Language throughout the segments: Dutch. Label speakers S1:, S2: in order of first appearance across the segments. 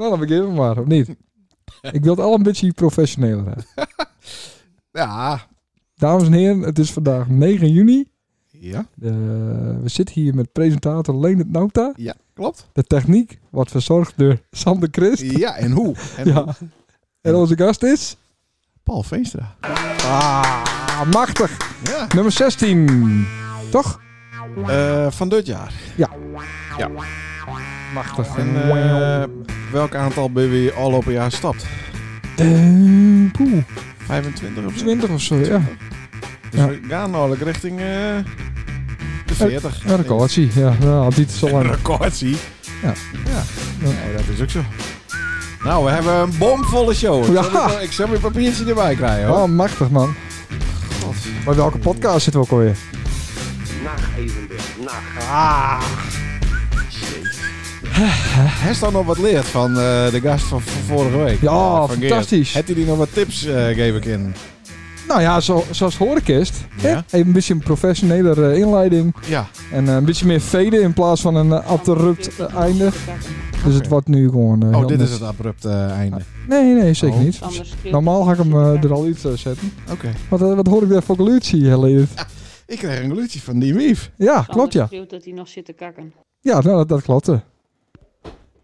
S1: Nou, dan beginnen we maar, of niet? Ik wil het al een beetje professioneler hebben.
S2: Ja.
S1: Dames en heren, het is vandaag 9 juni.
S2: Ja,
S1: Eh, we zitten hier met presentator Leendert Nauta.
S2: ja klopt.
S1: De techniek wordt verzorgd door Sander Christ.
S2: Ja, en hoe? En
S1: Ja. En onze gast is...
S2: Paul Veenstra.
S1: Ah, machtig.
S2: Ja.
S1: Nummer 16. Toch?
S2: Eh, van dit jaar.
S1: Machtig.
S2: En eh, welk aantal ben je al op een jaar stapt?
S1: Eh, poeh,
S2: 25 of zo?
S1: 20 of zo, ja.
S2: Dus
S1: Ja.
S2: we gaan namelijk richting eh, de 40.
S1: Een recordsie, ja. Nou, had niet zo
S2: Een
S1: lang.
S2: record, zie.
S1: Ja.
S2: ja.
S1: Ja.
S2: Nee, dat is ook zo. Nou, we hebben een bomvolle show. Ik,
S1: Ja.
S2: zal mijn- ik zal mijn papiertje erbij krijgen. Hoor.
S1: Oh, machtig, man.
S2: God.
S1: Bij welke podcast zitten we ook alweer?
S3: Nacht Evenbeeld. Nacht.
S2: Hij is dan nog wat leerd van eh, de gast van, van vorige week.
S1: Ja,
S2: Van Geert.
S1: fantastisch.
S2: Had hij die nog wat tips eh geven kunnen?
S1: Nou ja, zo, zoals het horen kist. hè?
S2: Ja.
S1: Even een beetje een professionelere eh, inleiding.
S2: Ja.
S1: En eh, een beetje meer veden in plaats van een eh, abrupt eh, einde. Dus het wordt nu gewoon... eh, heel Ah,
S2: Oh, dit
S1: net.
S2: is het abrupte einde.
S1: Nee, nee, zeker
S2: Oh.
S1: niet. Normaal ga ik hem eh, er al iets eh, zetten.
S2: Oké.
S1: Wat, eh, wat hoor ik daar voor geluidje, eh, Leendert?
S2: Ik kreeg een glutje van die wief.
S1: Ja, klopt ja.
S4: schreeuwt dat hij nog zit te kakken.
S1: Ja, nou, dat, dat klopt. eh.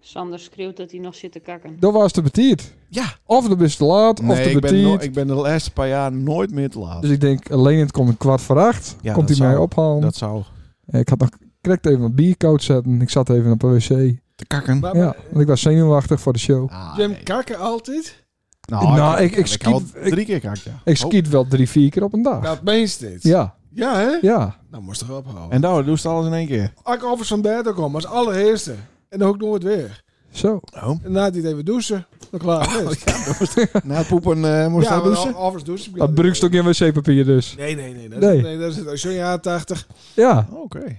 S4: Sander schreeuwt dat hij nog zit te kakken.
S1: Dat was te betiert.
S2: Ja.
S1: Of de bist te laat, of
S2: Nee,
S1: te
S2: ik ben, no-
S1: betiert.
S2: ik ben de laatste paar jaar nooit meer te laat.
S1: Dus ik denk, Leendert komt om kwart voor acht.
S2: Ja,
S1: komt
S2: dat
S1: hij mij
S2: zou-
S1: ophalen.
S2: Dat zou
S1: Eh, Ik had nog correct even wat bierkoud zetten. Ik zat even op een wc.
S2: te kakken.
S5: Maar-
S1: Ja, want ik was zenuwachtig voor de show.
S2: Ah,
S5: Jam
S2: nee.
S5: kakken altijd?
S2: Nou,
S1: Nou, ik- ik
S2: heb
S1: skiet-
S2: al
S1: ik-
S2: drie keer kakt, ja.
S1: Ik
S2: Oh,
S1: skiet wel drie, vier keer op een dag.
S5: Dat meest dit.
S1: Ja,
S5: Ja, hè?
S1: ja.
S5: Nou, moest toch ophouden.
S2: En nou, doe je alles in één keer.
S5: ik over zo'n bed ook om als allereerste. En dan ook nooit weer.
S1: Zo.
S2: Oh.
S5: En na die even douchen, dan klaar. is. ja,
S2: Na het poepen eh moest
S5: maar
S2: hij douchen?
S5: al- alvast douchen.
S1: Dat brukst ook in wc-papier dus.
S5: Nee, nee, nee. Dat,
S1: Nee.
S5: nee. nee dat is zo'n jaar 80.
S1: Ja.
S2: Oh, Oké.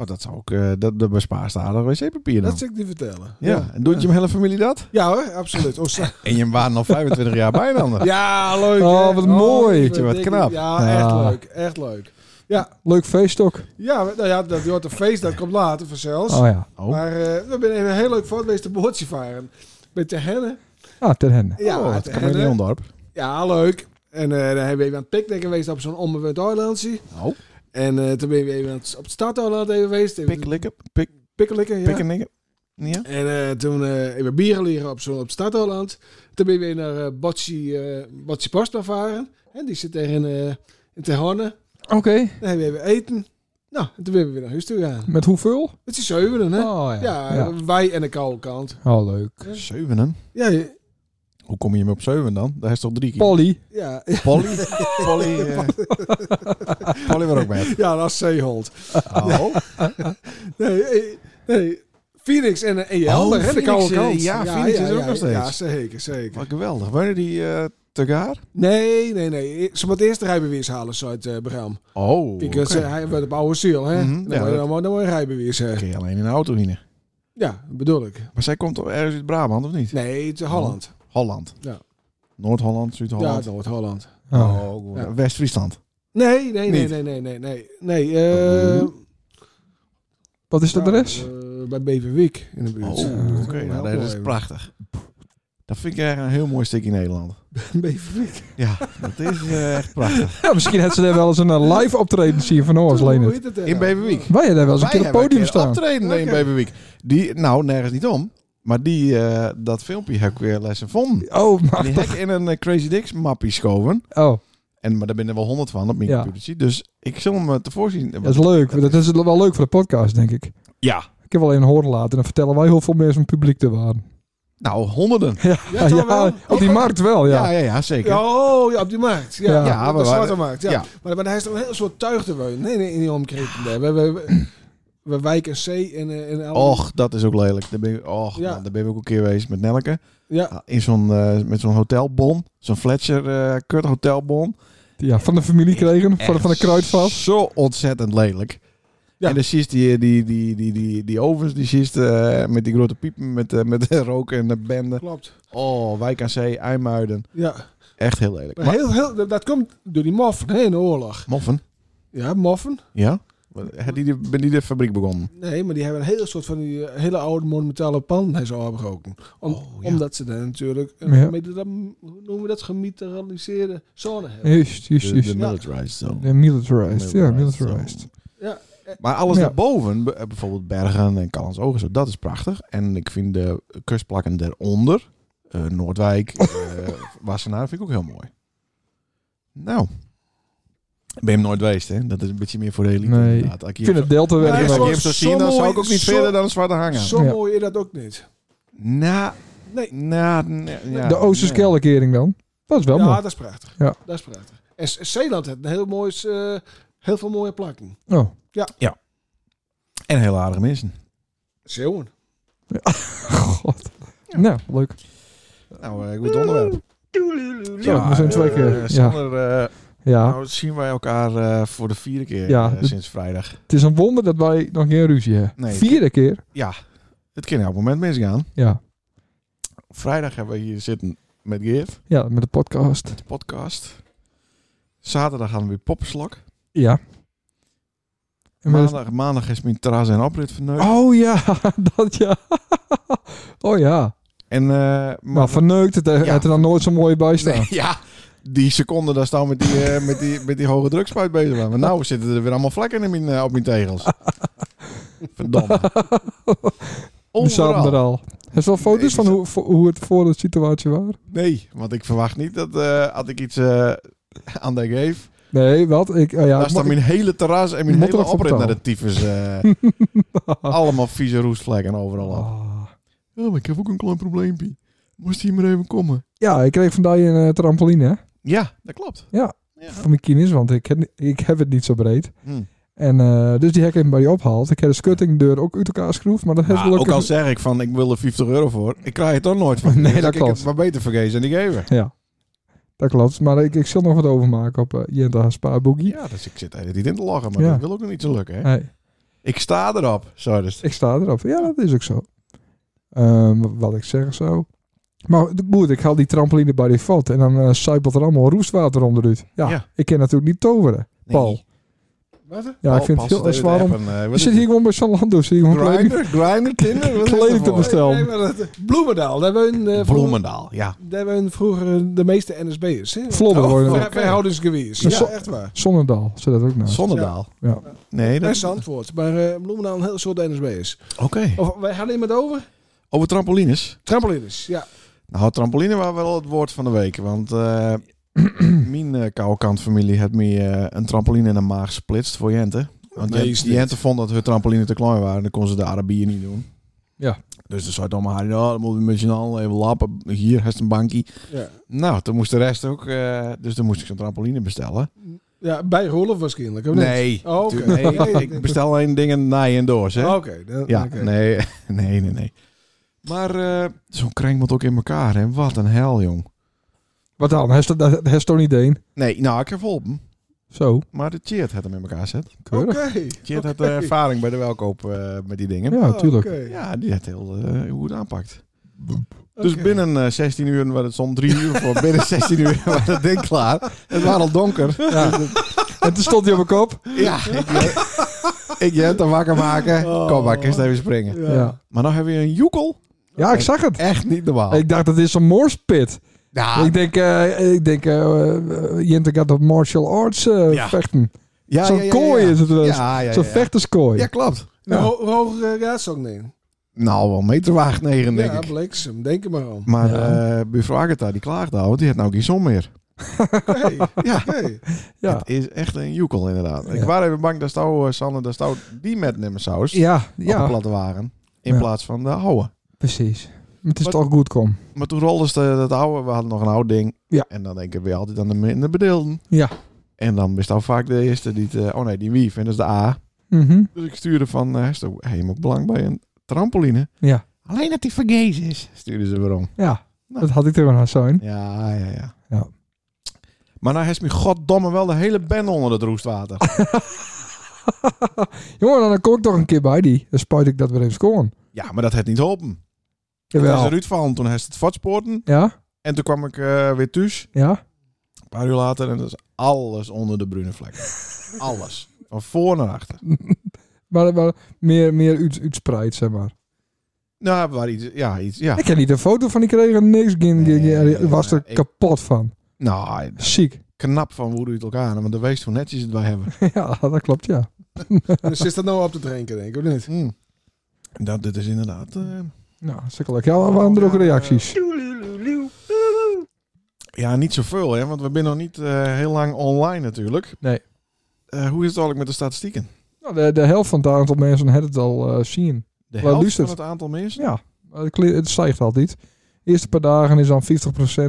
S2: Oh, dat zou ook... eh dat, dat bespaart aardig wc-papier dan.
S5: Dat zal ik niet vertellen.
S2: ja. en doet je mijn hele familie dat?
S5: Ja hoor, absoluut. Oh, sa-
S2: En je waren al 25 jaar bijna dan.
S5: ja, leuk.
S1: Oh,
S5: hè?
S1: wat mooi.
S5: ik ben
S2: Wat
S5: dik.
S2: knap.
S5: Ja,
S1: Ja.
S5: echt leuk. Echt leuk.
S1: Leuk feest ook.
S5: Ja, nou ja, dat wordt een feest. Dat komt later vanzelfs.
S1: Oh ja.
S2: Oh.
S5: Maar eh we zijn even heel leuk voor het meeste boordje varen. Met de hennen.
S1: Ah, ten henne.
S5: Ja,
S2: oh,
S5: met
S2: het
S5: de hennen.
S2: Chameleondorp.
S5: Ja, leuk. En eh dan hebben we even aan het picknicken geweest op zo'n onbewend eilandje.
S2: Oh,
S5: En eh, toen ben je even aan het, op het stadeiland even geweest. Even
S2: pikkelikken. Pik,
S5: pikkelikken, ja.
S2: pikkenikken. Ja.
S5: En eh, toen eh even bieren liggen op zo'n op het stadeiland. Toen ben je weer naar eh Botsi, eh Botsi Posta varen. En die zit daar in, eh in Terhorne.
S1: Oké.
S5: Dan hebben we even eten. Nou, en toen ben we weer naar huis toe gegaan.
S1: Met hoeveel?
S5: Het is zevenen, hè?
S1: Oh
S5: ja, wij en de koude kant.
S1: Oh, leuk.
S2: Zeuvenen.
S5: Ja, ja,
S2: Hoe kom je me op zeven dan? Daar is toch drie keer.
S1: Polly.
S5: ja,
S2: Polly. Polly. eh, Polly was ook met.
S5: ja dat is zeehold.
S2: Oh,
S5: Nee, eh, nee. Phoenix en, eh, en je
S2: Oh,
S5: helder, hè? De
S2: Phoenix,
S5: koude
S2: eh,
S5: kant.
S2: ja, Phoenix is ook
S5: ja,
S2: nog steeds.
S5: Ja, zeker, zeker.
S2: wat geweldig. Waren die eh tegaar?
S5: Nee, nee, nee. Ze moet eerst de rijbewijs halen, zo uit eh Bram.
S2: Oh,
S5: Ik zeg,
S2: oké.
S5: hij wordt op oude ziel, hè?
S2: Mhm, ja,
S5: dan, moet je,
S2: dat-
S5: dan, moet- dan moet je een rijbewijs hebben.
S2: Kun je alleen in de auto winnen.
S5: Ja, bedoel ik.
S2: Maar zij komt toch ergens uit Brabant, of niet?
S5: Nee, het is Holland.
S2: Oh, Holland.
S5: Ja.
S2: Noord-Holland,
S5: Ja,
S2: Zuid-Holland.
S5: Noord-Holland.
S1: Oh.
S2: Oh, goed.
S5: Ja.
S2: West-Friesland.
S5: Nee, nee,
S2: Niet.
S5: nee,
S2: Oh,
S5: nee, nee, nee, nee. Nee, eh...
S1: Wat is de adres?
S5: eh, bij Beverwijk in de
S2: Oh,
S5: buurt.
S2: oké. Nou, dat is prachtig. Dat vind ik echt een heel mooi stuk in Nederland.
S5: Beverwijk.
S2: Ja, dat is eh, echt prachtig.
S1: Ja, misschien had ze daar wel eens een eh, live optreden zien van
S2: Oh,
S1: ons,
S5: Hoe
S1: Leendert.
S5: heet het eh? daar?
S2: In Beverwijk.
S1: Wij hadden daar wel eens een
S2: Wij
S1: keer op het podium
S2: hebben een keer
S1: staan.
S2: optreden in
S5: Oké.
S2: Beverwijk. Die, nou, nergens niet om. Maar die, eh, dat filmpje heb ik weer lessen vonden.
S1: Oh,
S2: Die
S1: machtig.
S2: heb ik in een eh, Crazy Dicks mappie schoven.
S1: Oh,
S2: En, maar daar ben er wel honderd van op mijn
S1: Ja.
S2: computertje. Dus ik zal hem eh, tevoorschijn.
S1: dat is leuk. Dat is wel leuk voor de podcast, denk ik.
S2: Ja.
S1: Ik heb wel even horen laten en dan vertellen wij hoeveel mensen van het publiek er waren.
S2: Nou, honderden.
S5: Ja, toch wel?
S1: op die markt wel, ja.
S2: Ja, ja, ja, zeker.
S5: Ja, oh, ja, op die markt. Ja,
S1: Ja.
S5: ja,
S2: Ja,
S5: op de
S2: we
S5: zwarte
S2: waren-
S5: markt. Ja.
S2: ja.
S5: Maar, maar daar is toch een heel soort tuig te wonen. Nee, nee, in die omkring. daar. We, we, we, we wijken C en, eh, en alle-
S2: Och, dat is ook lelijk. Daar ben ik, och,
S5: Ja.
S2: man, daar ben ik ook een keer geweest met Nelke.
S5: Ja.
S2: In zo'n, eh, met zo'n hotelbon. Zo'n Fletcher eh kut hotelbon.
S1: Ja, van de familie kregen, van,
S2: Echt
S1: de- van de kruidvat.
S2: Zo ontzettend lelijk.
S5: Ja.
S2: En dan zie je die, die, die, die, die, die ovens, die zie je, eh, met die grote piepen, met, eh, met roken en de benden.
S5: Klopt.
S2: Oh, Wijk aan Zee, IJmuiden.
S5: Ja.
S2: Echt heel lelijk.
S5: Maar
S2: Maar,
S5: heel, heel, dat, dat komt door die moffen hè, in de oorlog.
S2: moffen?
S5: Ja, moffen.
S2: Ja? Had die de, ben die de fabriek begonnen?
S5: Nee, maar die hebben een hele soort van die eh, hele oude monumentale panden zo afgebroken. Om,
S2: Oh, ja.
S5: Omdat ze daar natuurlijk een
S1: Ja.
S5: gemeta- hoe noemen we dat, gemilitariseerde zone hebben.
S1: Juist, juist,
S2: De,
S1: juist.
S2: de militarized zone.
S1: Ja, militarized. Ja,
S2: Militarized,
S1: militarized.
S2: zo.
S5: Ja,
S2: Maar alles
S1: Ja.
S2: daarboven, b- eh, bijvoorbeeld Bergen en Callans Ogen, zo, dat is prachtig. En ik vind de kustplakken daaronder, eh, Noordwijk, eh Wassenaar, vind ik ook heel mooi. Nou, ik ben hem nooit geweest, hè? Dat is een beetje meer voor de elite.
S1: Nee.
S2: inderdaad. Als ik
S1: Ik
S2: hier
S1: vind het delta
S5: Ja,
S2: als
S1: werk
S2: ik
S5: zo-
S1: wel.
S2: hier hem zou zien, dan
S5: mooi-
S2: zou ik ook niet
S5: zo-
S2: verder dan een zwarte hangen.
S5: zo
S1: Ja.
S5: mooi is dat ook niet.
S2: Nou,
S5: Nee.
S2: nou, nee, ja,
S1: De
S2: nee.
S1: Oosterskellenkering dan. Dat is wel
S5: Ja,
S1: mooi.
S5: dat is prachtig.
S1: Ja.
S5: Dat is prachtig. En S- Zeeland heeft een heel, mooi, eh, heel veel mooie plakken.
S1: Oh.
S2: En heel aardige mensen.
S5: Zeeuwen.
S1: God. Nou, leuk.
S2: Nou, eh, goed onderwerp.
S1: Zo, we zijn twee
S2: eh,
S1: keer. Ja.
S2: Sander, eh,
S1: ja,
S2: nou zien wij elkaar eh, voor de vierde keer
S1: Ja,
S2: eh,
S1: de-
S2: sinds vrijdag.
S1: het is een wonder dat wij nog geen ruzie hebben.
S2: Nee.
S1: Vierde keer.
S2: Ja, het kan elk moment misgaan.
S1: Ja.
S2: Vrijdag hebben we hier zitten met Geert,
S1: ja, met de podcast.
S2: de podcast. Zaterdag gaan we weer poppenslok.
S1: Ja. En met-
S2: Maandag, maandag is mijn terras en oprit verneukt.
S1: Oh ja, dat ja. Oh ja.
S2: En, eh,
S1: Maar verneukt, het eh,
S2: Ja.
S1: het er dan nooit zo mooi bij staan.
S2: Nee, ja, die seconde daar staan we met die, eh, met die, met die hoge drukspuit bezig waren. Maar nou zitten er weer allemaal vlekken in mijn, eh, op mijn tegels. Verdomme.
S1: We zaten er al. Heb je wel foto's
S2: Nee,
S1: van hoe, vo- hoe het voor de situatie was?
S2: Nee, want ik verwacht niet dat eh als ik iets eh, aan de geef,
S1: Nee, wat? Ik, oh ja,
S2: Daar staat
S1: ik-
S2: mijn hele terras en mijn
S1: Moet er
S2: hele
S1: nog voor
S2: oprit naar de
S1: betalen.
S2: tyfus. eh, allemaal vieze roestvlekken overal op.
S1: Ah.
S2: Oh, maar ik heb ook een klein probleempje. Moest hier maar even komen.
S1: Ja, ik kreeg vandaag een eh, trampoline hè,
S2: Ja, dat klopt.
S1: Ja.
S2: Ja.
S1: van mijn kines, want ik heb, ni- ik heb het niet zo breed.
S2: Hm.
S1: En eh, dus die heb ik even bij je opgehaald. Ik heb de skuttingdeur ook uit elkaar schroefd, maar dat heeft
S2: Maar Nou, ook
S1: gelukkig...
S2: al zeg ik van, ik wil er 50 euro voor. Ik krijg het toch nooit van.
S1: Nee,
S2: Dus
S1: dat
S2: ik heb
S1: klopt.
S2: het maar beter vergeten en die geven.
S1: Dat klopt, maar ik, ik zal nog wat overmaken op eh Jenta Spaarboekie.
S2: Ja, dus ik zit eigenlijk niet in te lachen, maar
S1: Ja.
S2: dat wil ook nog niet zo lukken. Hè?
S1: Hey,
S2: Ik sta erop, zo dus.
S1: ik sta erop. Ja, dat is ook zo. Ehm, wat ik zeg zo. Maar goed, ik haal die trampoline bij die vat en dan eh, suipelt er allemaal roestwater onderuit. Ja,
S2: Ja.
S1: ik kan natuurlijk niet toveren. Paul.
S5: Wat? hè?
S1: Ja, ik vind het heel erg zwaar om... Je zit hier gewoon bij San Lando, zie je gewoon kleding-
S2: Grinder, grinder, Tinder. wat is
S1: Kleding te
S2: ervoor?
S1: bestellen. Stel.
S5: Nee, maar dat- Bloemendaal, daar hebben we een, eh, vroeger-
S2: Bloemendaal, ja.
S5: daar hebben we vroeger eh, de meeste NSB'ers. hè?
S1: Vlodder
S2: Oh,
S1: worden.
S2: oh.
S5: Ver- Verhoudingsgewijs.
S1: Dus
S5: Ja,
S1: zo-
S5: echt waar.
S1: Zonnendal, zit dat ook nou.
S2: Zonnedaal.
S1: Ja.
S2: Nee, dat
S5: Best antwoord. Maar eh, Bloemendaal een heel soort NSB'ers.
S2: Oké.
S1: Oh.
S5: Of wij gaan iemand over?
S2: Over trampolines.
S5: Trampolines, ja.
S2: Nou, trampoline was wel het woord van de week. Want eh, mijn eh koude kant familie had me eh, een trampoline in de maag gesplitst voor Jente. Want
S5: Nee, is
S2: Jente,
S5: niet.
S2: Jente vond dat hun trampoline te klein waren. Dan kon ze de Arabieren niet doen.
S1: Ja.
S2: Dus dan zei Tom haar, ja, dan moet je met z'n allen even lappen. Hier, heeft een bankje.
S5: Ja,
S2: Nou, toen moest de rest ook... eh, dus dan moest ik zo'n trampoline bestellen.
S5: ja bij Rolf waarschijnlijk. of niet?
S2: Nee.
S5: Oh, oké.
S2: natuurlijk- nee, ik bestel alleen dingen na en doors, hè.
S5: Ah, Oké. dan-
S2: Ja,
S5: oké.
S2: nee, nee, nee, nee. Maar eh, zo'n krenk moet ook in elkaar, hè. Wat een hel, jong.
S1: Wat dan? Hij is toch- Hij is toch niet één?
S2: Nee, nou, ik heb geholpen.
S1: Zo,
S2: Maar de Cheert had hem in elkaar gezet.
S1: keurig.
S5: Oké.
S2: Cheert had
S5: Oké.
S2: eh, ervaring bij de welkoop eh, met die dingen. Ja,
S1: Ja, tuurlijk.
S5: Oké.
S2: die had heel eh, hoe het aanpakt. Dus
S5: Oké.
S2: binnen eh, 16 uur, waar het stond 3 uur voor, binnen 16 uur was het ding klaar. Het was al donker.
S1: En toen stond hij op mijn kop.
S2: Ja, Oh. ik, ik Jent dan wakker maken. Kom maar, kist even springen.
S1: Ja, ja.
S2: Maar nou hebben we een joekel.
S1: ik zag het.
S2: Echt niet normaal.
S1: Ik dacht, dat is een morspit.
S2: ja,
S1: Ik denk, eh ik denk eh eh, Jente gaat op martial arts eh,
S2: Ja.
S1: vechten.
S2: ja,
S1: Zo'n
S2: ja, ja,
S1: kooi
S2: ja.
S1: is het wel.
S2: Ja, ja, ja,
S1: Zo'n
S2: ja.
S1: vechterskooi.
S2: Ja, klopt.
S5: Nou, ho- hoger eh, gaat ze ook niet.
S2: Nou, wel meterwaag 9, denk
S5: Ja,
S2: ik.
S5: bliksem. Denk er maar om.
S2: Maar eh buurvrouw Agatha, die klaagde al, want die had nou geen zon meer.
S5: Oké.
S2: Ja.
S5: Oké.
S1: Ja.
S2: Het is echt een joekel, inderdaad. Ik
S1: Ja.
S2: was even bang dat stouw, eh, Sanne, dat stouw die met nimmersaus
S1: ja,
S2: op de
S1: ja
S2: platte waren. In
S1: Ja.
S2: plaats van de oude.
S1: precies. Maar het is
S2: Wat-
S1: toch goed, kom.
S2: Maar toen rolden ze de- dat oude. We hadden nog een oud ding.
S1: Ja.
S2: En dan denken we altijd aan de minder bedeelden.
S1: Ja.
S2: En dan is dat vaak de eerste die het... eh, oh nee, die wief. En dat is de A.
S1: Mhm.
S2: Dus ik stuurde van... eh, Hesto, hey, je moet belang bij een trampoline.
S1: Ja.
S2: Alleen dat die vergees is. Stuurden ze weer om.
S1: Ja,
S2: Nou.
S1: dat had ik er wel aan zijn.
S2: Ja, ja, ja.
S1: Ja.
S2: Maar nou heeft me goddomme wel de hele bende onder het roestwater.
S1: Jongen, dan kom ik toch een keer bij die. Dan spuit ik dat weer even schoon.
S2: ja, maar dat heeft niet open. Toen is
S1: Jawel.
S2: er uit van. Toen heeft het vatsporten.
S1: Ja,
S2: En toen kwam ik eh, weer thuis,
S1: ja.
S2: een paar uur later, en dat is alles onder de brune vlek. alles. Van voor naar achter.
S1: Maar, maar meer, meer uit, uitspreid, zeg maar.
S2: Nou, waar iets, ja, iets, ja.
S1: Ik heb niet een foto van die kregen. Niks. Geen, geen-
S2: Nee,
S1: geen-
S2: ja,
S1: was er
S2: ik-
S1: kapot van.
S2: Nou,
S1: Ziek.
S2: knap van hoe doe je het elkaar, want dan wees hoe netjes het wij hebben.
S1: Ja, dat klopt, ja.
S5: Dus is dat nou op te drinken, denk ik, of niet?
S2: Hmm. Dat, dit is inderdaad... eh,
S1: Nou, hartstikke leuk. Ja, waren er ook reacties?
S2: ja, niet zoveel, hè, want we zijn nog niet eh, heel lang online natuurlijk.
S1: Nee.
S2: Eh, hoe is het eigenlijk met de statistieken?
S1: Nou, de, de helft van het aantal mensen had het al eh, zien.
S2: De
S1: Waar
S2: helft
S1: luistert?
S2: van het aantal mensen?
S1: Ja, maar het kli- het stijgt altijd. De eerste paar dagen is dan 50%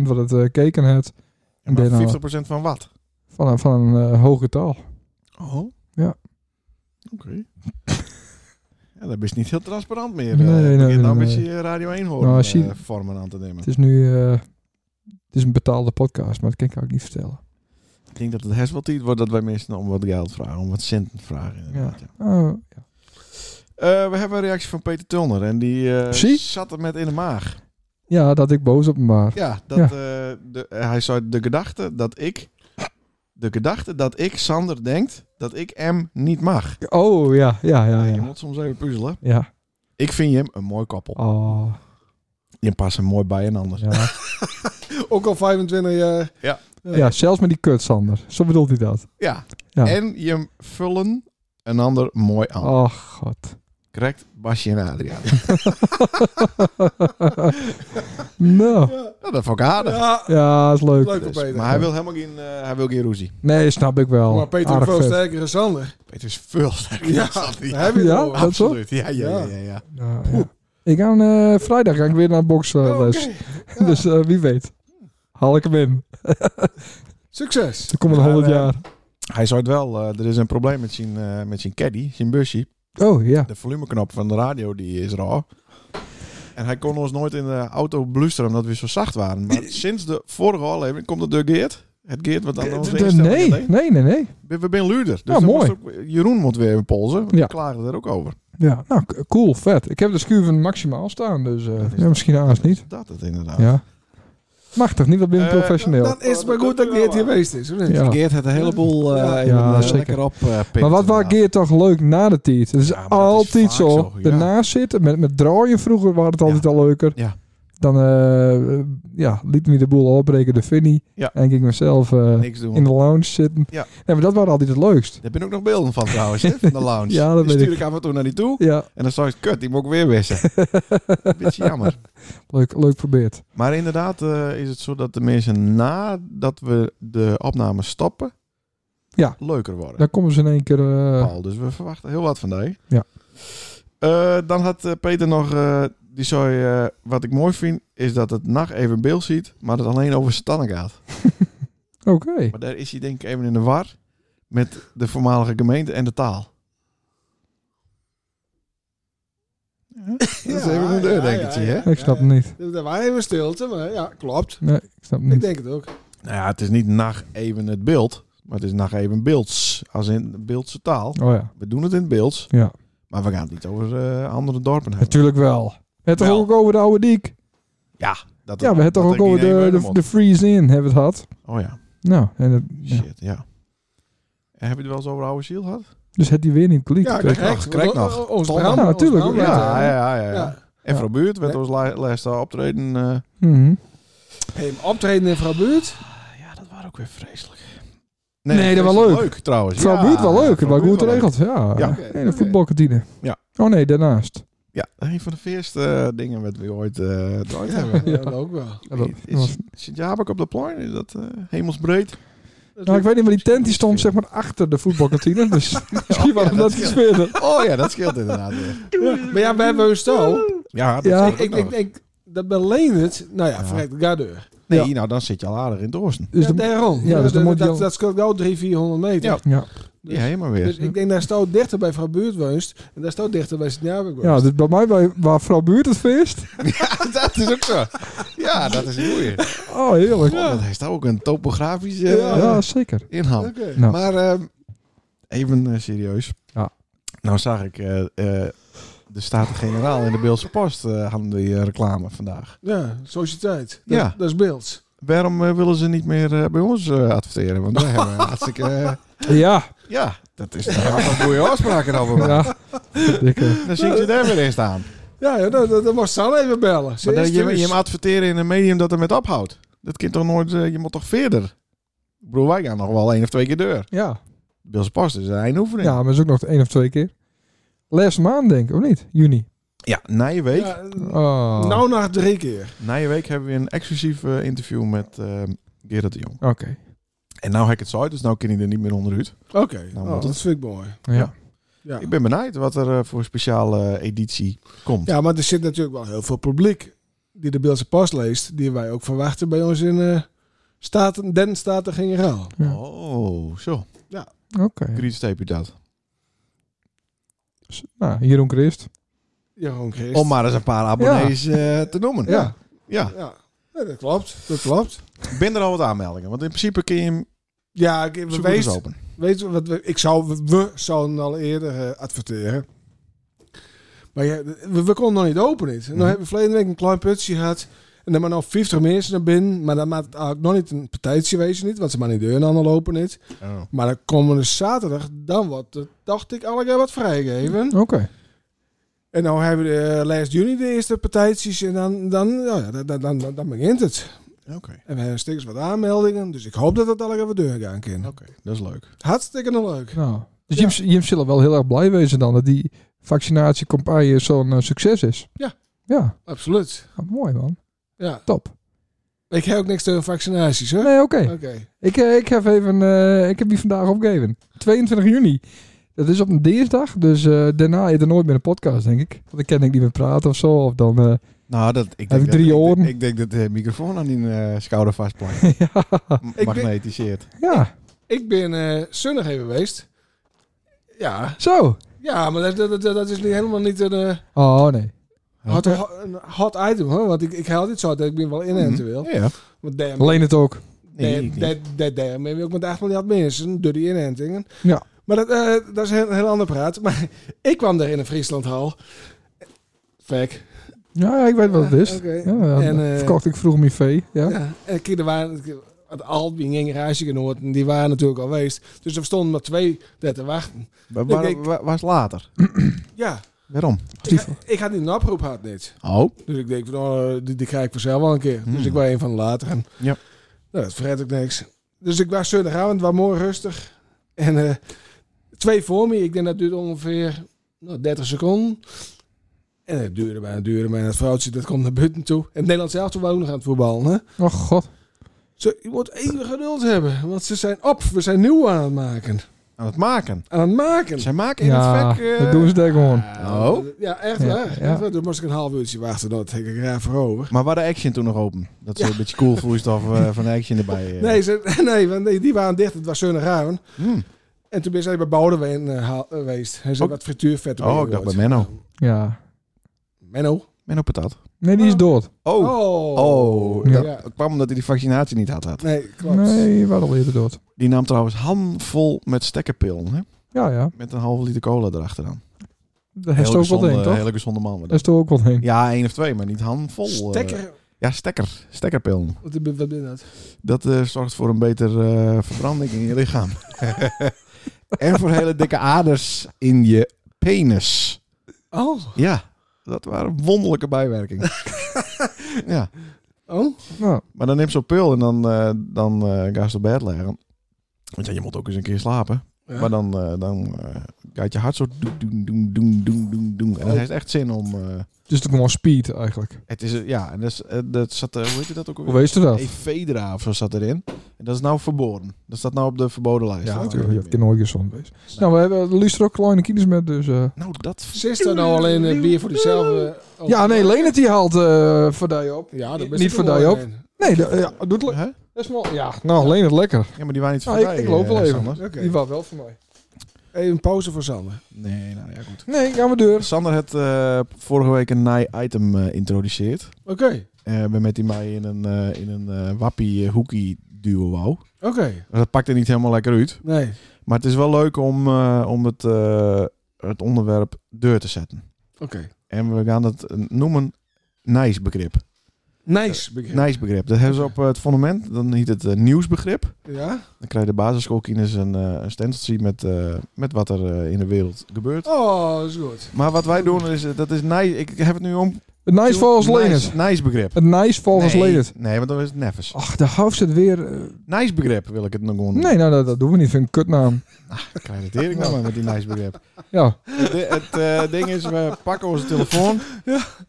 S1: wat het eh, keken had
S2: En maar
S1: ben al-
S2: 50% van wat?
S1: van een, van een eh, hoog getal.
S2: Oh.
S1: Ja.
S2: Oké. ja, dat is niet heel transparant meer.
S1: Nee,
S2: eh.
S1: nee,
S2: Begint nou
S1: nee.
S2: een beetje eh, Radio 1 horen
S1: Nou, zie-
S2: vormen aan te nemen.
S1: Het is nu eh, het is een betaalde podcast, maar dat kan ik ook niet vertellen.
S2: Ik denk dat het herfst wel tijd wordt dat wij mensen om wat geld vragen, om wat centen vragen. inderdaad, ja.
S1: Oh,
S2: Eh, we hebben een reactie van Peter Tulner en die eh,
S1: Zie?
S2: zat er met in de maag.
S1: ja, dat ik boos op me was.
S2: Ja, dat,
S1: Ja.
S2: eh, de, hij zei de gedachte dat ik, de gedachte dat ik Sander denkt dat ik hem niet mag.
S1: Oh, ja, ja, ja,
S2: Je
S1: ja.
S2: moet soms even puzzelen.
S1: Ja.
S2: Ik vind hem een mooi koppel.
S1: Oh,
S2: Je past hem mooi bij een ander.
S1: ja.
S5: Ook al 25 jaar.
S1: ja, zelfs met die kut, Sander. Zo bedoelt hij dat.
S2: Ja.
S1: Ja.
S2: En je vullen een ander mooi aan.
S1: Oh, god.
S2: Correct, Basje en Adriaan.
S1: Nou,
S2: nou, dat vond ik aardig.
S5: Ja,
S1: ja, is leuk.
S5: leuk
S2: Dus,
S5: op Peter.
S2: maar hij wil helemaal geen, eh, hij wil geen ruzie.
S1: Nee, snap ik wel.
S5: Maar Peter is
S1: Aardig
S5: veel
S1: vet.
S5: sterker dan Sander.
S2: Peter is veel sterker
S5: Ja,
S2: dan Sander.
S5: daar heb je het
S1: Ja?
S5: over.
S1: dat zo?
S2: Absoluut. Ja, ja, ja. ja, ja.
S1: Nou, ja. Ik ga eh, vrijdag ga ik weer naar boksles.
S2: Oh,
S1: Dus eh, wie weet. Haal ik hem in. Dus
S5: Succes.
S1: Er komt een
S2: Maar,
S1: 100
S2: eh,
S1: jaar.
S2: Hij zei het wel, eh, er is een probleem met zijn, eh, met zijn caddy, zijn busje.
S1: Oh ja.
S2: De volumeknop van de radio die is raar. En hij kon ons nooit in de auto blusteren omdat we zo zacht waren. Maar sinds de vorige aflevering komt het door Geert. Het Geert wat dan ons
S1: Eh, De- nee, nee, nee, nee.
S2: We we zijn luider. Dus
S1: Ja,
S2: dan
S1: mooi.
S2: moest ook- Jeroen moet weer in polsen. Want
S1: Ja.
S2: Die klagen er ook over.
S1: Ja, nou k- cool, vet. Ik heb de schuiven maximaal staan, dus eh,
S2: Dat is
S1: ja, misschien haast niet.
S2: Dat het inderdaad.
S1: Ja. Machtig, niet wat binnen
S2: Eh,
S1: professioneel.
S5: Dan is het maar goed dat Geert hier geweest is, of niet?
S1: Ja.
S2: Geert had een heleboel eh
S5: Ja,
S2: even, eh,
S1: zeker.
S2: lekker op. eh, pikt,
S1: maar wat was
S2: inderdaad.
S1: Geert toch leuk na de tijd? Het is
S2: Ja, maar dat is
S1: altijd
S2: vaak
S1: zo.
S2: zo, ja.
S1: Ernaast zitten, met, met draaien vroeger was het altijd al leuker.
S2: Ja.
S1: Dan eh, ja, liet me de boel opbreken, de Finny.
S2: Ja.
S1: En ging ik mezelf eh,
S2: Niks doen.
S1: in de lounge zitten.
S2: Ja.
S1: Nee, maar dat was altijd het leukst.
S2: Daar ben ook nog beelden van trouwens, hè, van de lounge.
S1: Ja, dat
S2: die
S1: weet
S2: stuur ik af en toe naar die toe.
S1: Ja,
S2: En dan zei ik, kut, die moet ik weer wissen. Beetje jammer.
S1: leuk, leuk probeerd.
S2: Maar inderdaad eh, is het zo dat de mensen nadat we de opname stoppen,
S1: Ja.
S2: leuker worden.
S1: Dan komen ze in één keer... eh,
S2: Paul, dus we verwachten heel wat van die.
S1: Ja.
S2: Eh, dan had eh, Peter nog, eh, die zei, eh, wat ik mooi vind, is dat het nacht even beeld ziet, maar dat het alleen over Stannen gaat.
S1: Oké.
S2: Maar daar is hij denk ik even in de war met de voormalige gemeente en de taal. Ja, dat is even een deur, denk ik. zie je, hè?
S1: Ik snap het niet.
S5: niet. Er waren even stilte, maar ja, klopt.
S1: Nee, Hmm. ik snap het
S5: Ik
S1: niet.
S5: denk het ook.
S2: Nou ja, het is niet nacht even het beeld, maar het is nacht even beelds, als in beeldse taal.
S1: Oh ja.
S2: We doen het in het beelds,
S1: Ja,
S2: maar we gaan het niet over eh, andere dorpen hebben.
S1: natuurlijk wel. Het toch
S2: Wel.
S1: ook over de oude diek.
S2: Ja, dat
S1: ja, we hebben
S2: dat
S1: toch
S2: ik
S1: ook over
S2: niet neem bij
S1: de, de,
S2: mond.
S1: de freeze-in hebben we het gehad.
S2: Oh ja,
S1: Nou, en dat, ja.
S2: shit, ja. En heb je het wel eens over oude ziel gehad?
S1: dus had die weer niet klikt.
S5: Ja,
S2: krijg
S5: correct.
S2: nog, krijg nog.
S5: O- o- Ons
S1: Tom,
S5: brand,
S1: ja, natuurlijk.
S5: ons brand-
S1: Ja,
S2: ja, ja.
S5: Ja.
S2: En
S1: Ja.
S2: Vrouw Buurt werd
S5: Nee.
S2: ons la- laatste optreden. eh,
S1: Mhm.
S5: Hey, maar optreden in Vrouw Buurt.
S2: Ah, ja, dat was ook weer vreselijk.
S1: Nee, dat was
S2: vreselijk
S1: leuk.
S2: trouwens.
S1: Vrouw
S2: Dus Ja,
S1: Buurt wel leuk,
S2: Vrouw
S1: maar
S2: Buurt
S1: goed
S2: wel leuk.
S1: geregeld. Ja,
S2: Ja.
S1: ja.
S5: Oké,
S1: de
S5: oké.
S1: voetbalkantine.
S2: Ja.
S1: Oh nee, daarnaast.
S2: Ja, een van de eerste dingen wat we ooit eh ooit hebben.
S5: Ja, dat ook wel.
S1: Ja, dat-
S2: Is-
S1: dat was-
S2: Is Sint-Jabak op de plein? Is dat eh, hemelsbreed?
S1: nou, ik weet niet, maar die tent die stond zeg maar achter de voetbalkantine. Dus misschien was
S2: ja,
S1: het
S2: dat
S1: dat iets verder.
S2: Oh ja, dat scheelt inderdaad. weer.
S5: Maar ja, we hebben een stal.
S2: Ja, dat
S1: Ja.
S2: scheelt
S5: Ik,
S2: ook
S5: ik,
S2: nog.
S5: ik denk dat Berlijn het. Nou ja,
S2: Ja.
S5: verrekt, ga door.
S2: nee,
S1: ja.
S2: nou dan zit je al aardig in het oosten.
S1: Dus de,
S5: ja, daarom.
S1: ja, dus dan moet je
S5: dat,
S1: al-
S5: dat scheelt wel 300, 400 meter.
S2: Ja.
S1: ja.
S5: Dus-
S2: ja, helemaal weer.
S5: Dus ik denk daar staat dichter bij Vrouw Buurt woonst. En daar staat dichter bij Sint-Jabek woonst.
S1: ja, dus bij mij bij, waar vrouw Buurt het feest.
S2: Ja, dat is ook zo. Ja, dat is heel weer.
S1: Oh, heerlijk.
S2: Oh, dat heeft ook een topografische
S5: Ja.
S2: eh,
S1: Ja, zeker.
S2: inhoud.
S5: Oké.
S1: Nou.
S2: Maar ehm, even eh, serieus.
S1: Ja.
S2: Nou zag ik, eh eh, de Staten-Generaal in de Beeldse Post eh, hadden die eh, reclame vandaag.
S5: Ja, sociëteit. Dat,
S2: Ja.
S5: dat is beeld.
S2: Waarom eh, willen ze niet meer eh, bij ons eh, adverteren? Want wij hebben hartstikke... eh,
S1: Ja,
S2: ja, Dat is daar had een goede afspraken over. maken.
S1: Ja, dikke.
S2: Dan zie ik je daar weer in staan.
S5: Ja, ja dan, dan, dan moest ze al even bellen. Ze
S2: Maar dat
S5: is
S2: je,
S5: thuis.
S2: je hem adverteren in een medium dat er met ophoudt. Dat kind toch nooit, eh, je moet toch verder. Ik bedoel, wij gaan nog wel één of twee keer deur.
S1: Ja.
S2: Bills Post is een eindoefening.
S1: ja, maar dat is ook nog één of twee keer. Laatste maand denk ik, of niet? Juni.
S2: Ja, na je week.
S5: Ja,
S1: Oh.
S5: nou na drie keer.
S2: Na je week hebben we een exclusief eh, interview met eh, Gerard de Jong.
S1: Oké.
S2: En nou heb ik het zo uit, dus nou kan hij er niet meer onderuit.
S5: Oké,
S2: Nou,
S5: oh,
S2: moet
S5: dat
S2: het.
S5: vind ik mooi.
S1: Ja.
S5: Ja.
S2: Ik ben benieuwd wat er eh, voor speciale eh, editie komt.
S5: ja, maar er zit natuurlijk wel heel veel publiek die de Beeldse Pas leest, die wij ook verwachten bij ons in eh, Staten, Den Staten-Generaal.
S1: Ja.
S2: Oh, zo.
S1: Oké.
S2: Griet heb je dat.
S1: Dus, Nou, Jeroen Christ.
S5: Jeroen Christ.
S2: Om maar eens een paar abonnees eh, te noemen.
S5: Ja.
S2: ja.
S5: Ja. Ja, dat klopt. Dat klopt.
S2: Ik ben er al wat aanmeldingen. Want in principe kun je hem
S5: Ja, ik, we
S2: zo goed als
S5: wees,
S2: open.
S5: weet je wat we, ik zou, we zouden al eerder eh, adverteren. Maar ja, we, we konden nog niet open. Niet. En
S2: Mhm.
S5: dan hebben we verleden week een klein putje gehad. En dan maar nog 50 mensen naar binnen. Maar dan maakt het eigenlijk nog niet een partijtje wezen. Niet, want ze maar niet deuren aan al open. Niet.
S2: Oh.
S5: Maar dan komende zaterdag, dan wordt het, dacht ik, alle keer wat
S2: Mhm.
S5: vrijgegeven.
S1: Oké.
S5: En nou hebben we de, eh, last juni de eerste partijtjes. En dan, dan, nou ja, dan, dan, dan, dan begint het.
S2: Oké,
S5: En we hebben stikkers wat aanmeldingen. Dus ik hoop dat het alle keer wat deur gaan kan.
S2: oké. Dat is leuk.
S5: Hartstikke leuk.
S1: Nou. Dus Jim, Jim zal wel heel erg blij wezen dan dat die vaccinatiecampagne zo'n eh, succes is.
S5: Ja.
S1: Ja,
S5: Absoluut.
S1: Ah, mooi man.
S5: Ja.
S1: Top.
S5: Ik heb ook niks tegen vaccinaties, hoor.
S1: Nee, oké.
S5: Oké.
S1: Ik, eh, ik heb even, eh, ik heb die vandaag opgegeven. 22 juni. Dat is op een dinsdag, dus eh, daarna eet er nooit meer een podcast, denk ik. Want dan kan ik niet meer praten of zo. Of dan, eh,
S2: Nou, dat, ik
S1: Heb ik
S2: dat-
S1: drie oren?
S2: Ik, denk dat de microfoon aan die eh, schouder vastplakt.
S1: ja,
S5: ben-
S2: Magnetiseerd.
S1: ja,
S5: Ik ben eh zonnig even geweest. Ja.
S1: zo.
S5: Ja, maar dat, dat, dat, dat is niet, helemaal niet een, eh,
S1: Oh nee.
S5: hot, eh, een hot item, hoor. Want ik, ik haal dit zo dat ik ben wel inentueel.
S2: Ja, ja.
S5: Want damn,
S1: Leen het ook.
S2: Nee, ik niet.
S5: dat dat damn, ben je ook met 8 miljard mensen door die inentingen.
S1: Ja.
S5: Maar dat, eh, dat is een heel, heel ander praat. Maar ik kwam daar in de Frieslandhal. Fek.
S1: Ja, ja, ik weet wat het is.
S5: Oké.
S1: Ja,
S5: En,
S1: en,
S5: eh,
S1: verkocht ik vroeg mijn vee. Ja.
S5: Ja, en kijk, er waren het Albing en Reisgenoten, die waren natuurlijk al geweest. Dus er stonden maar twee daar te wachten.
S2: Wa- wa-
S5: Ik- ik-
S2: wa- was later.
S5: Ja,
S2: Waarom?
S5: ik, ha- ik had niet een oproep gehad net.
S2: Oh.
S5: Dus ik denk, van, oh, die, die krijg ik vanzelf wel een keer.
S2: Hmm.
S5: Dus ik was een van de lateren.
S2: Ja.
S5: Nou, dat vergeet ik niks. Dus ik was zondagavond, was mooi rustig. En eh, twee voor me, ik denk dat duurde ongeveer nou, 30 seconden. En het duurde maar, het duurde maar. En dat vrouwtje, dat komt naar buiten toe. En Nederland zelf toen wonen gaan het voetballen, hè.
S1: Oh god.
S5: Zo, je moet even geduld hebben, want ze zijn op. We zijn nieuw aan het maken.
S2: Aan het maken.
S5: Aan het maken.
S2: Zij maken in
S1: Ja,
S2: het vak... eh,
S1: dat doen ze daar gewoon.
S5: Ah,
S2: Oh.
S5: Ja, echt
S1: Ja,
S5: waar. Echt
S1: ja.
S5: waar. Toen moest ik een half uurtje wachten. Dat heb ik graag voor over.
S2: Maar waar de action toen nog open? Dat ze
S5: Ja.
S2: een beetje cool vloeistof eh, van de action erbij... eh.
S5: Nee, ze, nee, want die- die waren dicht. Het was Zonnegouwen.
S2: Hmm.
S5: En toen ben zij bij Boudewijn eh, haal- eh, geweest. Hij zei
S2: Oh.
S5: wat frituurvet erbij
S2: Oh, ik dacht bij
S5: gehoord.
S2: Menno.
S1: Ja.
S5: Menno?
S2: Menno Patat.
S1: Nee, die is dood.
S2: Oh.
S5: Oh.
S2: Oh.
S5: Ja.
S2: Dat kwam omdat hij die vaccinatie niet had. had.
S5: Nee, klopt.
S1: Nee, waar al eerder dood.
S2: Die nam trouwens handvol met stekkerpillen. Hè?
S1: Ja, ja.
S2: Met een halve liter cola erachteraan.
S1: Daar heeft ook wat
S2: gezonde,
S1: heen, toch?
S2: hele gezonde man.
S1: Daar is er ook wat heen.
S2: Ja, één of twee, maar niet handvol. eh.
S5: Stekker.
S2: Ja, stekker. Stekkerpillen.
S5: Wat, wat ben je dat?
S2: Dat eh, zorgt voor een beter eh, verbranding in je lichaam. en voor hele dikke aders in je penis.
S5: Oh.
S2: Ja, dat waren wonderlijke bijwerkingen. ja,
S5: Oh.
S1: Nou,
S2: maar dan neemt zo'n pil en dan, eh dan eh, ga je ze op bed leggen. Want ja, je moet ook eens een keer slapen.
S5: Ja.
S2: Maar dan, eh dan eh, gaat je hart zo doen, doen, doen, doen, doen, doen, doen. En dan heeft het echt zin om... eh,
S1: dus het gewoon speed eigenlijk.
S2: het is, eh, ja, en dat, is, eh, dat zat... eh, hoe heet je dat ook
S1: Hoe
S2: alweer?
S1: wees je dat?
S2: Ephedra of zo zat erin. En dat is nou verboden. Dat staat nou op de verboden lijst.
S1: Ja,
S2: Dat
S1: natuurlijk.
S2: weet
S1: Dat
S2: ik
S1: kan
S2: niet
S1: nooit gezond wezen. Nou, we hebben Luister ook kleine kinders met, dus... eh,
S2: meer. Nou, dat...
S5: Ze is er nou alleen eh, bier voor diezelfde... eh,
S1: Ja, nee, Leonard die haalt eh voor die op.
S5: Ja, dat
S1: Niet voor jou, Joop. Nee, de- eh, ja, doet le-
S2: Hè?
S1: dat is wel- Ja, nou, Leonard lekker.
S2: Ja, maar die waren niet
S1: Nou,
S2: voorbij.
S1: ik, ik loop wel
S2: eh,
S1: even.
S2: Sander.
S5: Oké.
S1: Die was wel voor mij.
S5: Even pauze voor Sander.
S2: Nee, nou ja, goed.
S1: Nee, gaan we deur.
S2: Sander had eh, vorige week een naai item eh introduceerd.
S5: Oké.
S2: Eh, we met die mij in een, eh, in een eh, wappie eh, hoekie duo wou.
S5: Oké.
S2: Dat pakte niet helemaal lekker uit.
S5: Nee.
S2: Maar het is wel leuk om, eh, om het, eh, het onderwerp deur te zetten.
S5: Oké.
S2: En we gaan het eh, noemen nice begrip.
S5: Nice begrip.
S2: Nijsbegrip. Dat hebben ze op eh, het fundament. Dan heet het eh, nieuwsbegrip.
S5: Ja?
S2: Dan krijg je de basisschoolkinders een, eh een stenciltje met, eh, met wat er eh, in de wereld gebeurt.
S5: Oh, dat is goed.
S2: Maar wat wij doen is, eh, dat is nice. Ik heb het nu om.
S1: Het nice volgens Lenert.
S2: nice, nice begrip.
S1: Het nice volgens
S2: nee,
S1: Lenert.
S2: Nee, want dan is het neffens.
S1: Ach, de hoofd het weer. eh,
S2: Nice begrip wil ik het nog gewoon.
S1: nee, nou, dat, dat doen we niet. Vind ik een kutnaam.
S2: Ik krijg het tering nou maar met die nice begrip.
S1: Ja.
S2: Het, di- het eh, ding is, we pakken onze telefoon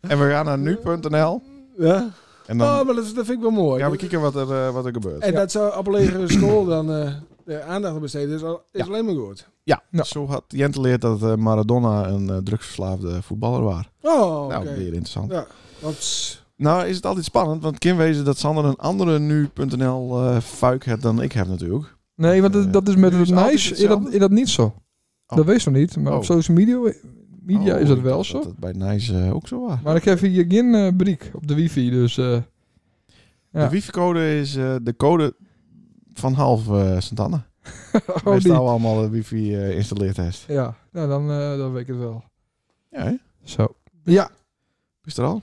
S2: en we gaan naar nu.nl.
S5: Ja?
S2: En
S5: Oh,
S2: dan
S5: maar dat, dat vind ik wel mooi.
S2: gaan we kijken wat er, eh, wat er gebeurt.
S5: En dat zou Appellegere School dan eh, de aandacht aan besteden. Is, al- is
S2: Ja.
S5: alleen maar goed.
S2: Ja,
S1: Nou.
S2: zo had Jente leert dat eh, Maradona een eh, drugsverslaafde voetballer was.
S5: Oh, oké.
S2: Nou, weer interessant.
S5: Ja, want
S2: Nou is het altijd spannend, want Kim wezen dat Sander een andere nu.nl eh fuik heeft dan ik heb natuurlijk.
S1: Nee, want dat, dat is met
S2: Nu
S1: het
S2: is altijd
S1: nice is dat,
S2: hetzelfde?
S1: is dat niet zo. Dat wees nog niet. Maar
S2: Oh.
S1: op social media, media
S2: Oh,
S1: is dat
S2: ik
S1: wel
S2: dacht
S1: zo.
S2: Dat het bij Nice eh, ook zo was.
S1: Maar ik heb hier geen eh briek op de wifi, dus... eh, Ja.
S2: De wifi-code is eh, de code van half eh Santana.
S1: oh,
S2: Wij
S1: die.
S2: staan allemaal de wifi eh installeerd test.
S1: Ja, nou, dan, eh, dan weet ik het wel.
S2: Ja, hè?
S1: Zo.
S2: is er al?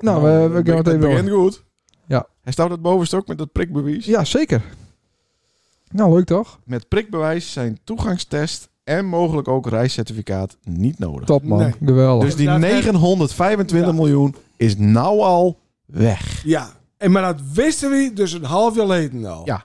S1: Nou, eh, we gaan het even...
S2: begint goed.
S1: Ja.
S2: Hij staat op het bovenste ook met dat prikbewijs.
S1: Ja, zeker. Nou, leuk toch?
S2: Met prikbewijs zijn toegangstest en mogelijk ook reiscertificaat niet nodig.
S1: Top man,
S5: Nee.
S1: geweldig.
S2: Dus die
S5: Daar-
S2: 925
S5: Ja.
S2: miljoen is nou al weg.
S5: ja. En maar dat wisten we dus een half jaar geleden al.
S2: Ja.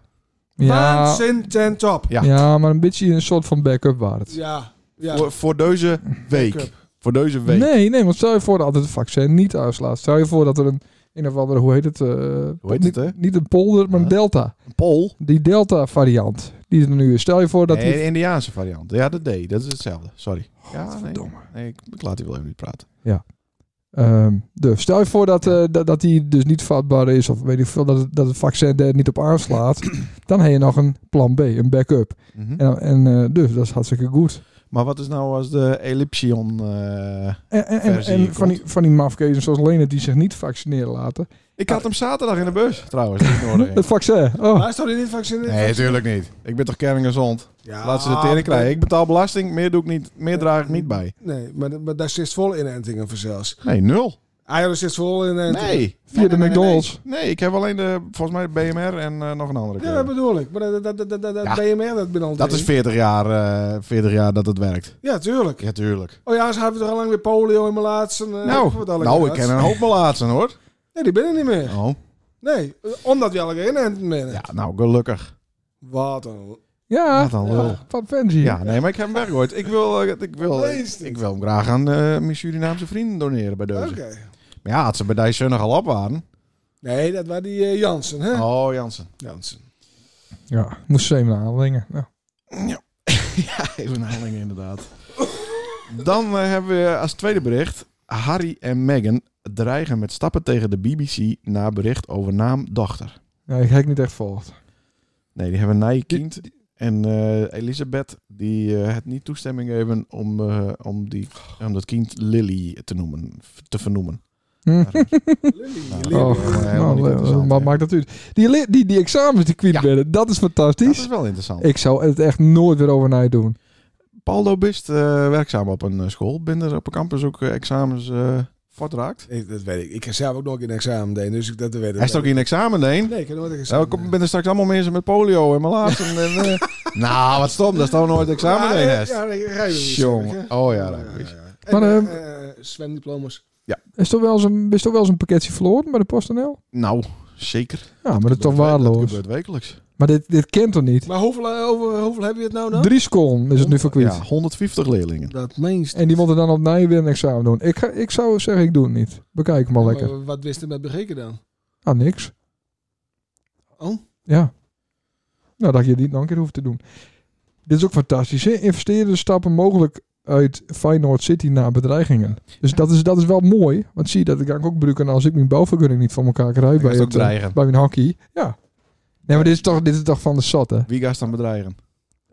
S5: Dus
S1: ja,
S5: Waanzin ten top.
S2: Ja.
S1: ja, maar een beetje een soort van backup waard.
S5: Ja. ja.
S2: Voor, voor deze week.
S5: Backup.
S2: Voor deze week.
S1: Nee, nee, want stel je voor dat het vaccin niet uitslaat. Stel je voor dat er een, een of andere, hoe heet het? eh,
S2: heet het,
S1: niet,
S2: hè?
S1: niet een polder, maar een
S2: Ja.
S1: delta.
S2: Pol.
S1: Die delta variant die er nu is. Stel je voor dat
S2: nee,
S1: die...
S2: de Indiaanse variant. Ja, dat deed. Dat is hetzelfde. Sorry. ja, nee.
S1: Godverdomme.
S2: nee ik, ik laat die wel even niet praten.
S1: Ehm, dus stel je voor dat, eh, dat, dat die dus niet vatbaar is, of weet ik veel, dat het, dat het vaccin er niet op aanslaat, dan heb je nog een plan B, een backup.
S2: Mhm.
S1: En, en eh, dus dat is hartstikke goed.
S2: Maar wat is nou als de Ellipsion... eh,
S1: En, en, en,
S2: Versie
S1: en
S2: hier
S1: van, die,
S2: komt.
S1: van die mafkezen zoals Lenet die zich niet vaccineren laten.
S2: Ik had hem zaterdag in de bus, trouwens. die ik nodig
S1: Het
S2: had.
S1: vaccin. Oh.
S5: Maar is dat niet vaccineren?
S2: Nee, natuurlijk niet. Ik ben toch kerngezond.
S5: Ja,
S2: Laat ze de tering krijgen. Ik betaal belasting, meer, doe ik niet, meer draag ik niet bij.
S5: Nee, maar, maar daar zit vol inentingen voor zelfs.
S2: Nee, nul.
S5: Eigenlijk zit vol
S2: Nee.
S5: inentingen.
S1: Via de
S2: nee, nee,
S1: McDonald's.
S2: Nee, Nee, ik heb alleen de, volgens mij de BMR en eh, nog een andere.
S5: Ja,
S2: kleur.
S5: dat bedoel ik. Maar dat, dat, dat, dat, dat
S2: Ja.
S5: BMR, dat ben al
S2: Dat is 40 jaar, eh, 40 jaar dat het werkt.
S5: Ja, tuurlijk.
S2: Ja, tuurlijk.
S5: Oh ja, ze hebben toch al lang weer polio in mijn laatste. eh,
S2: Nou,
S5: wat al
S2: nou ik
S5: had.
S2: ken een hoop malaatsen hoor.
S5: Nee, die ben ik niet meer.
S2: Oh.
S5: Nee, eh, omdat je al een inenten bent.
S2: Ja, nou gelukkig.
S5: Wat een...
S1: Ja,
S2: Wat een lul.
S1: ja, van fancy.
S2: Ja, nee, maar ik heb hem weggegooid. Ik wil, eh, ik wil,
S5: Leest het.
S2: ik wil hem graag aan eh, mijn Surinaamse vrienden doneren bij
S5: Oké.
S2: deze. Maar ja, als ze bij Dijsje nog al op waren.
S5: Nee, dat was die eh, Jansen, hè?
S2: Oh, Jansen.
S5: Jansen.
S1: Ja, moest ze even aanlengen. Nou.
S2: Ja, even een handeling inderdaad. Dan eh, hebben we als tweede bericht... Harry en Meghan dreigen met stappen tegen de BBC na bericht over naamdochter.
S1: Ja, ik heb niet echt volgd.
S2: Nee, die hebben een kind. En eh, Elisabeth, die eh, het niet toestemming geven om, eh, om, die, om dat kind Lily te, noemen, te vernoemen.
S1: Hm.
S5: Lily,
S2: Nou,
S5: Lily.
S1: Oh,
S2: helemaal niet
S1: nou,
S2: interessant,
S1: wat
S2: hè?
S1: maakt dat uit? Die, li- die, die examens die kwijt
S2: Ja.
S1: werden, dat is
S2: Dat
S1: fantastisch.
S2: is wel interessant.
S1: Ik zou het echt nooit weer over na doen.
S2: Paldo bist eh, werkzaam op een eh, school. Ben er op een campus ook eh, examens eh voortraakt.
S5: Ik- dat weet ik. Ik heb zelf ook nog een examen deed, dus ik dat weet ik.
S2: Hij is ook in een examen, nee.
S5: Nee, ik heb nooit een
S2: Nou,
S5: examen.
S2: ik kom- ben er straks allemaal mensen met polio en malaatsen. en, eh, nou, wat stom. Daar staan we nooit examen
S5: Ja,
S2: in.
S5: ja,
S2: Hest.
S5: ja, nee, rijbewijs
S2: Jongen.
S5: heb ik, hè.
S2: Oh ja, rijbewijs.
S5: En,
S1: Maar,
S5: eh,
S1: ehm,
S5: eh, zwemdiplomas.
S1: Is toch wel eens een, is toch wel eens een pakketje verloren bij de PostNL?
S2: Nou, zeker.
S1: Ja, maar dat is toch
S2: we- Dat
S1: waardeloos.
S2: gebeurt wekelijks.
S1: Maar dit, dit kent toch niet?
S5: Maar hoeveel, eh, over, hoeveel hebben we het nou dan?
S1: Drie seconden is het nu voor kwijt.
S2: Ja, 150 leerlingen.
S5: Dat meest.
S1: En die moeten dan op Nijen weer een examen doen. Ik, ga, ik zou zeggen, ik doe het niet. Bekijk hem al lekker.
S5: Maar Wat wist er met begrepen dan?
S1: Ah, niks.
S5: Oh?
S1: Ja. Nou, dat je dit nog een keer hoeft te doen. Dit is ook fantastisch, hè? Investeerders stappen mogelijk uit Feyenoord City naar bedreigingen. Dus dat is, dat is wel mooi. Want zie, je, dat kan ik ook gebruiken als ik mijn bouwvergunning niet van elkaar krijg
S2: Dan
S1: bij,
S2: is het ook
S1: het, eh,
S2: dreigen.
S1: bij mijn hockey. Ja. Nee, maar dit is toch, dit is toch van de zat, hè?
S2: Wie gaat ze dan bedreigen?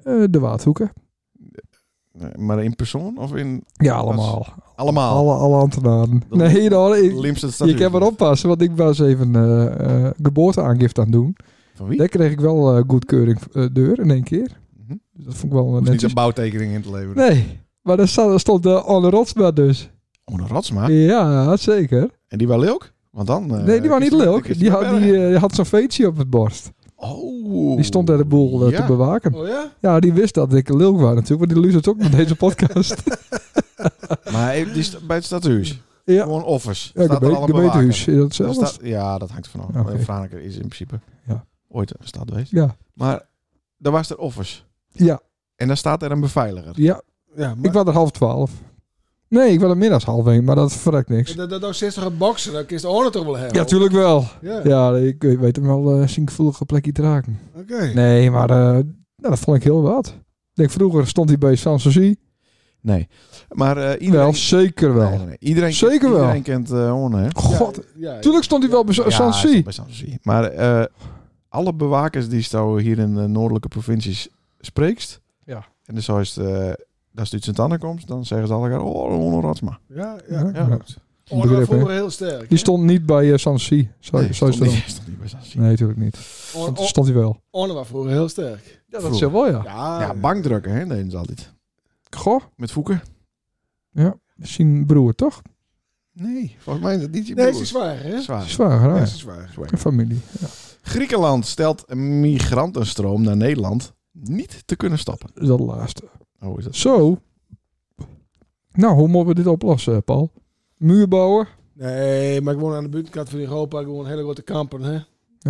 S1: Eh, de Waardhoeken.
S2: Nee, Maar in persoon of in
S1: Ja, allemaal.
S2: allemaal?
S1: Alle, alle ambtenaren.
S2: Dat-
S1: Nee, hoor. Ik,
S2: Limse statuut.
S1: je kan maar oppassen, want ik was even eh, eh, geboorteaangifte aan het doen.
S2: Van wie?
S1: Daar kreeg ik wel eh goedkeuring eh, deur in één keer.
S2: Mhm.
S1: Dus dat vond ik wel
S2: Hoeft niet
S1: netjes.
S2: een bouwtekening in te leveren.
S1: Nee, maar daar stond, daar stond de On Rotsma eh, dus.
S2: Oh, een Rotsma.
S1: Ja, zeker.
S2: En die wel ook? Want dan... eh,
S1: nee, die was
S2: is
S1: niet
S2: het-
S1: leuk.
S2: is
S1: Die
S2: het
S1: had,
S2: wel
S1: die,
S2: erg.
S1: eh, had zo'n veetje op het borst.
S2: Oh.
S1: Die stond daar de boel eh, te
S2: Ja.
S1: bewaken.
S5: Oh ja?
S1: Ja, die wist dat ik leuk was natuurlijk, want die luistert ook naar deze podcast.
S2: Maar hij- die is bij het stadhuis.
S1: ja,
S2: Gewoon offers.
S1: ja
S2: Staat er
S1: gebe-
S2: allemaal
S1: gemeentehuis. Is dus, eh, dat
S2: bewaken.
S1: zelfs?
S2: Daar staat- ja, dat hangt vanaf.
S1: Oké.
S2: Okay. is in principe
S1: Ja.
S2: ooit een stad geweest.
S1: Ja,
S2: Maar daar was er offers.
S1: ja,
S2: En daar staat er een beveiliger.
S1: ja.
S5: Ja, maar
S1: ik was er half twaalf. Nee, ik was er middags half één, maar dat verrekt niks.
S5: dat, dat ook 60 een boksen, dan kun je de orde toch wel hebben?
S1: Ja, tuurlijk wel.
S5: Ja,
S1: Ja, ik weet hem wel, eh zijn gevoelige plekje te raken.
S5: oké.
S1: Nee, maar eh, nou, dat vond ik heel wat. Ik denk, vroeger stond hij bij Sanssouci.
S2: Nee. Maar eh, iedereen...
S1: Wel, zeker wel.
S2: Nee, nee, nee. Iedereen,
S1: Zeker wel.
S2: iedereen kent eh Orne, hè?
S1: God,
S5: Ja, ja.
S1: tuurlijk stond hij wel bij
S2: Ja,
S1: Sanssouci.
S2: is bij Sanssouci. Maar eh, alle bewakers die staan hier in de noordelijke provincies spreekst.
S1: Ja.
S2: En dus als eh dat is sint anne komt, dan zeggen ze allemaal oh, Orne Ratsma.
S5: Ja, ja.
S1: Ja, ja.
S2: ja.
S5: Oh, dat was
S1: Begrip, hè?
S5: vroeger heel sterk.
S1: Die stond niet bij eh, Sanssouci. Zou,
S2: Nee,
S1: zou
S2: stond
S1: je het
S2: niet,
S1: doen?
S2: stond niet bij Sanssouci.
S1: Nee, natuurlijk niet.
S5: Orne
S1: Want stond hij wel.
S5: was vroeger heel sterk.
S1: Ja,
S2: Vroeger.
S1: dat zou wel, ja.
S5: Ja,
S2: Ja, bankdrukken, hè, deden ze altijd.
S1: Goh,
S2: Met voeken?
S1: zijn broer toch?
S2: Nee, volgens mij is dat niet je
S5: Nee,
S2: broer.
S5: ze zwaar, hè?
S2: Zwaar.
S1: Zwaar,
S5: Ja,
S1: hè?
S5: ze zwaar.
S1: Een familie. Ja.
S2: Griekenland stelt een migrantenstroom naar Nederland niet te kunnen stoppen.
S1: Dat is dat de laatste.
S2: Oh, is dat
S1: Zo. Nou, hoe moeten we dit oplossen, Paul? Muur bouwen?
S5: Nee, maar gewoon aan de buitenkant van Europa, gewoon hele grote kampen, hè?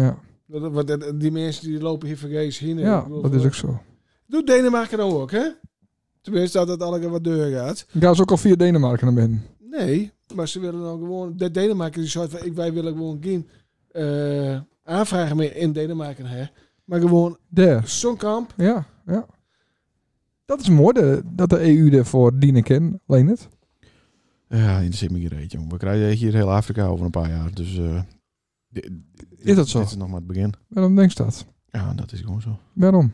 S1: Ja,
S5: Dat- Want dat- die mensen die lopen hier vergeefs heen.
S1: ja
S5: Ik bedoel,
S1: dat is ook zo.
S5: Doet Denemarken dan ook, hè? Tenminste, dat het allemaal wat deur gaat.
S1: Ik ga ze ook al via Denemarken naar binnen.
S5: Nee, maar ze willen dan gewoon... De Denemarken die soort van... ik- Wij willen gewoon geen eh, aanvragen meer in Denemarken, hè? Maar gewoon
S1: Daar.
S5: zo'n kamp.
S1: Ja, ja. Dat is mooi de- dat de EU ervoor dienen kan, alleen het.
S2: Ja, interesseert me geen reet, jongen. We krijgen hier heel Afrika over een paar jaar. Dus eh, dit- dit-
S1: Is dat zo?
S2: Dit is nog maar het begin.
S1: Waarom denk je dat?
S2: Ja, dat is gewoon zo.
S1: Waarom?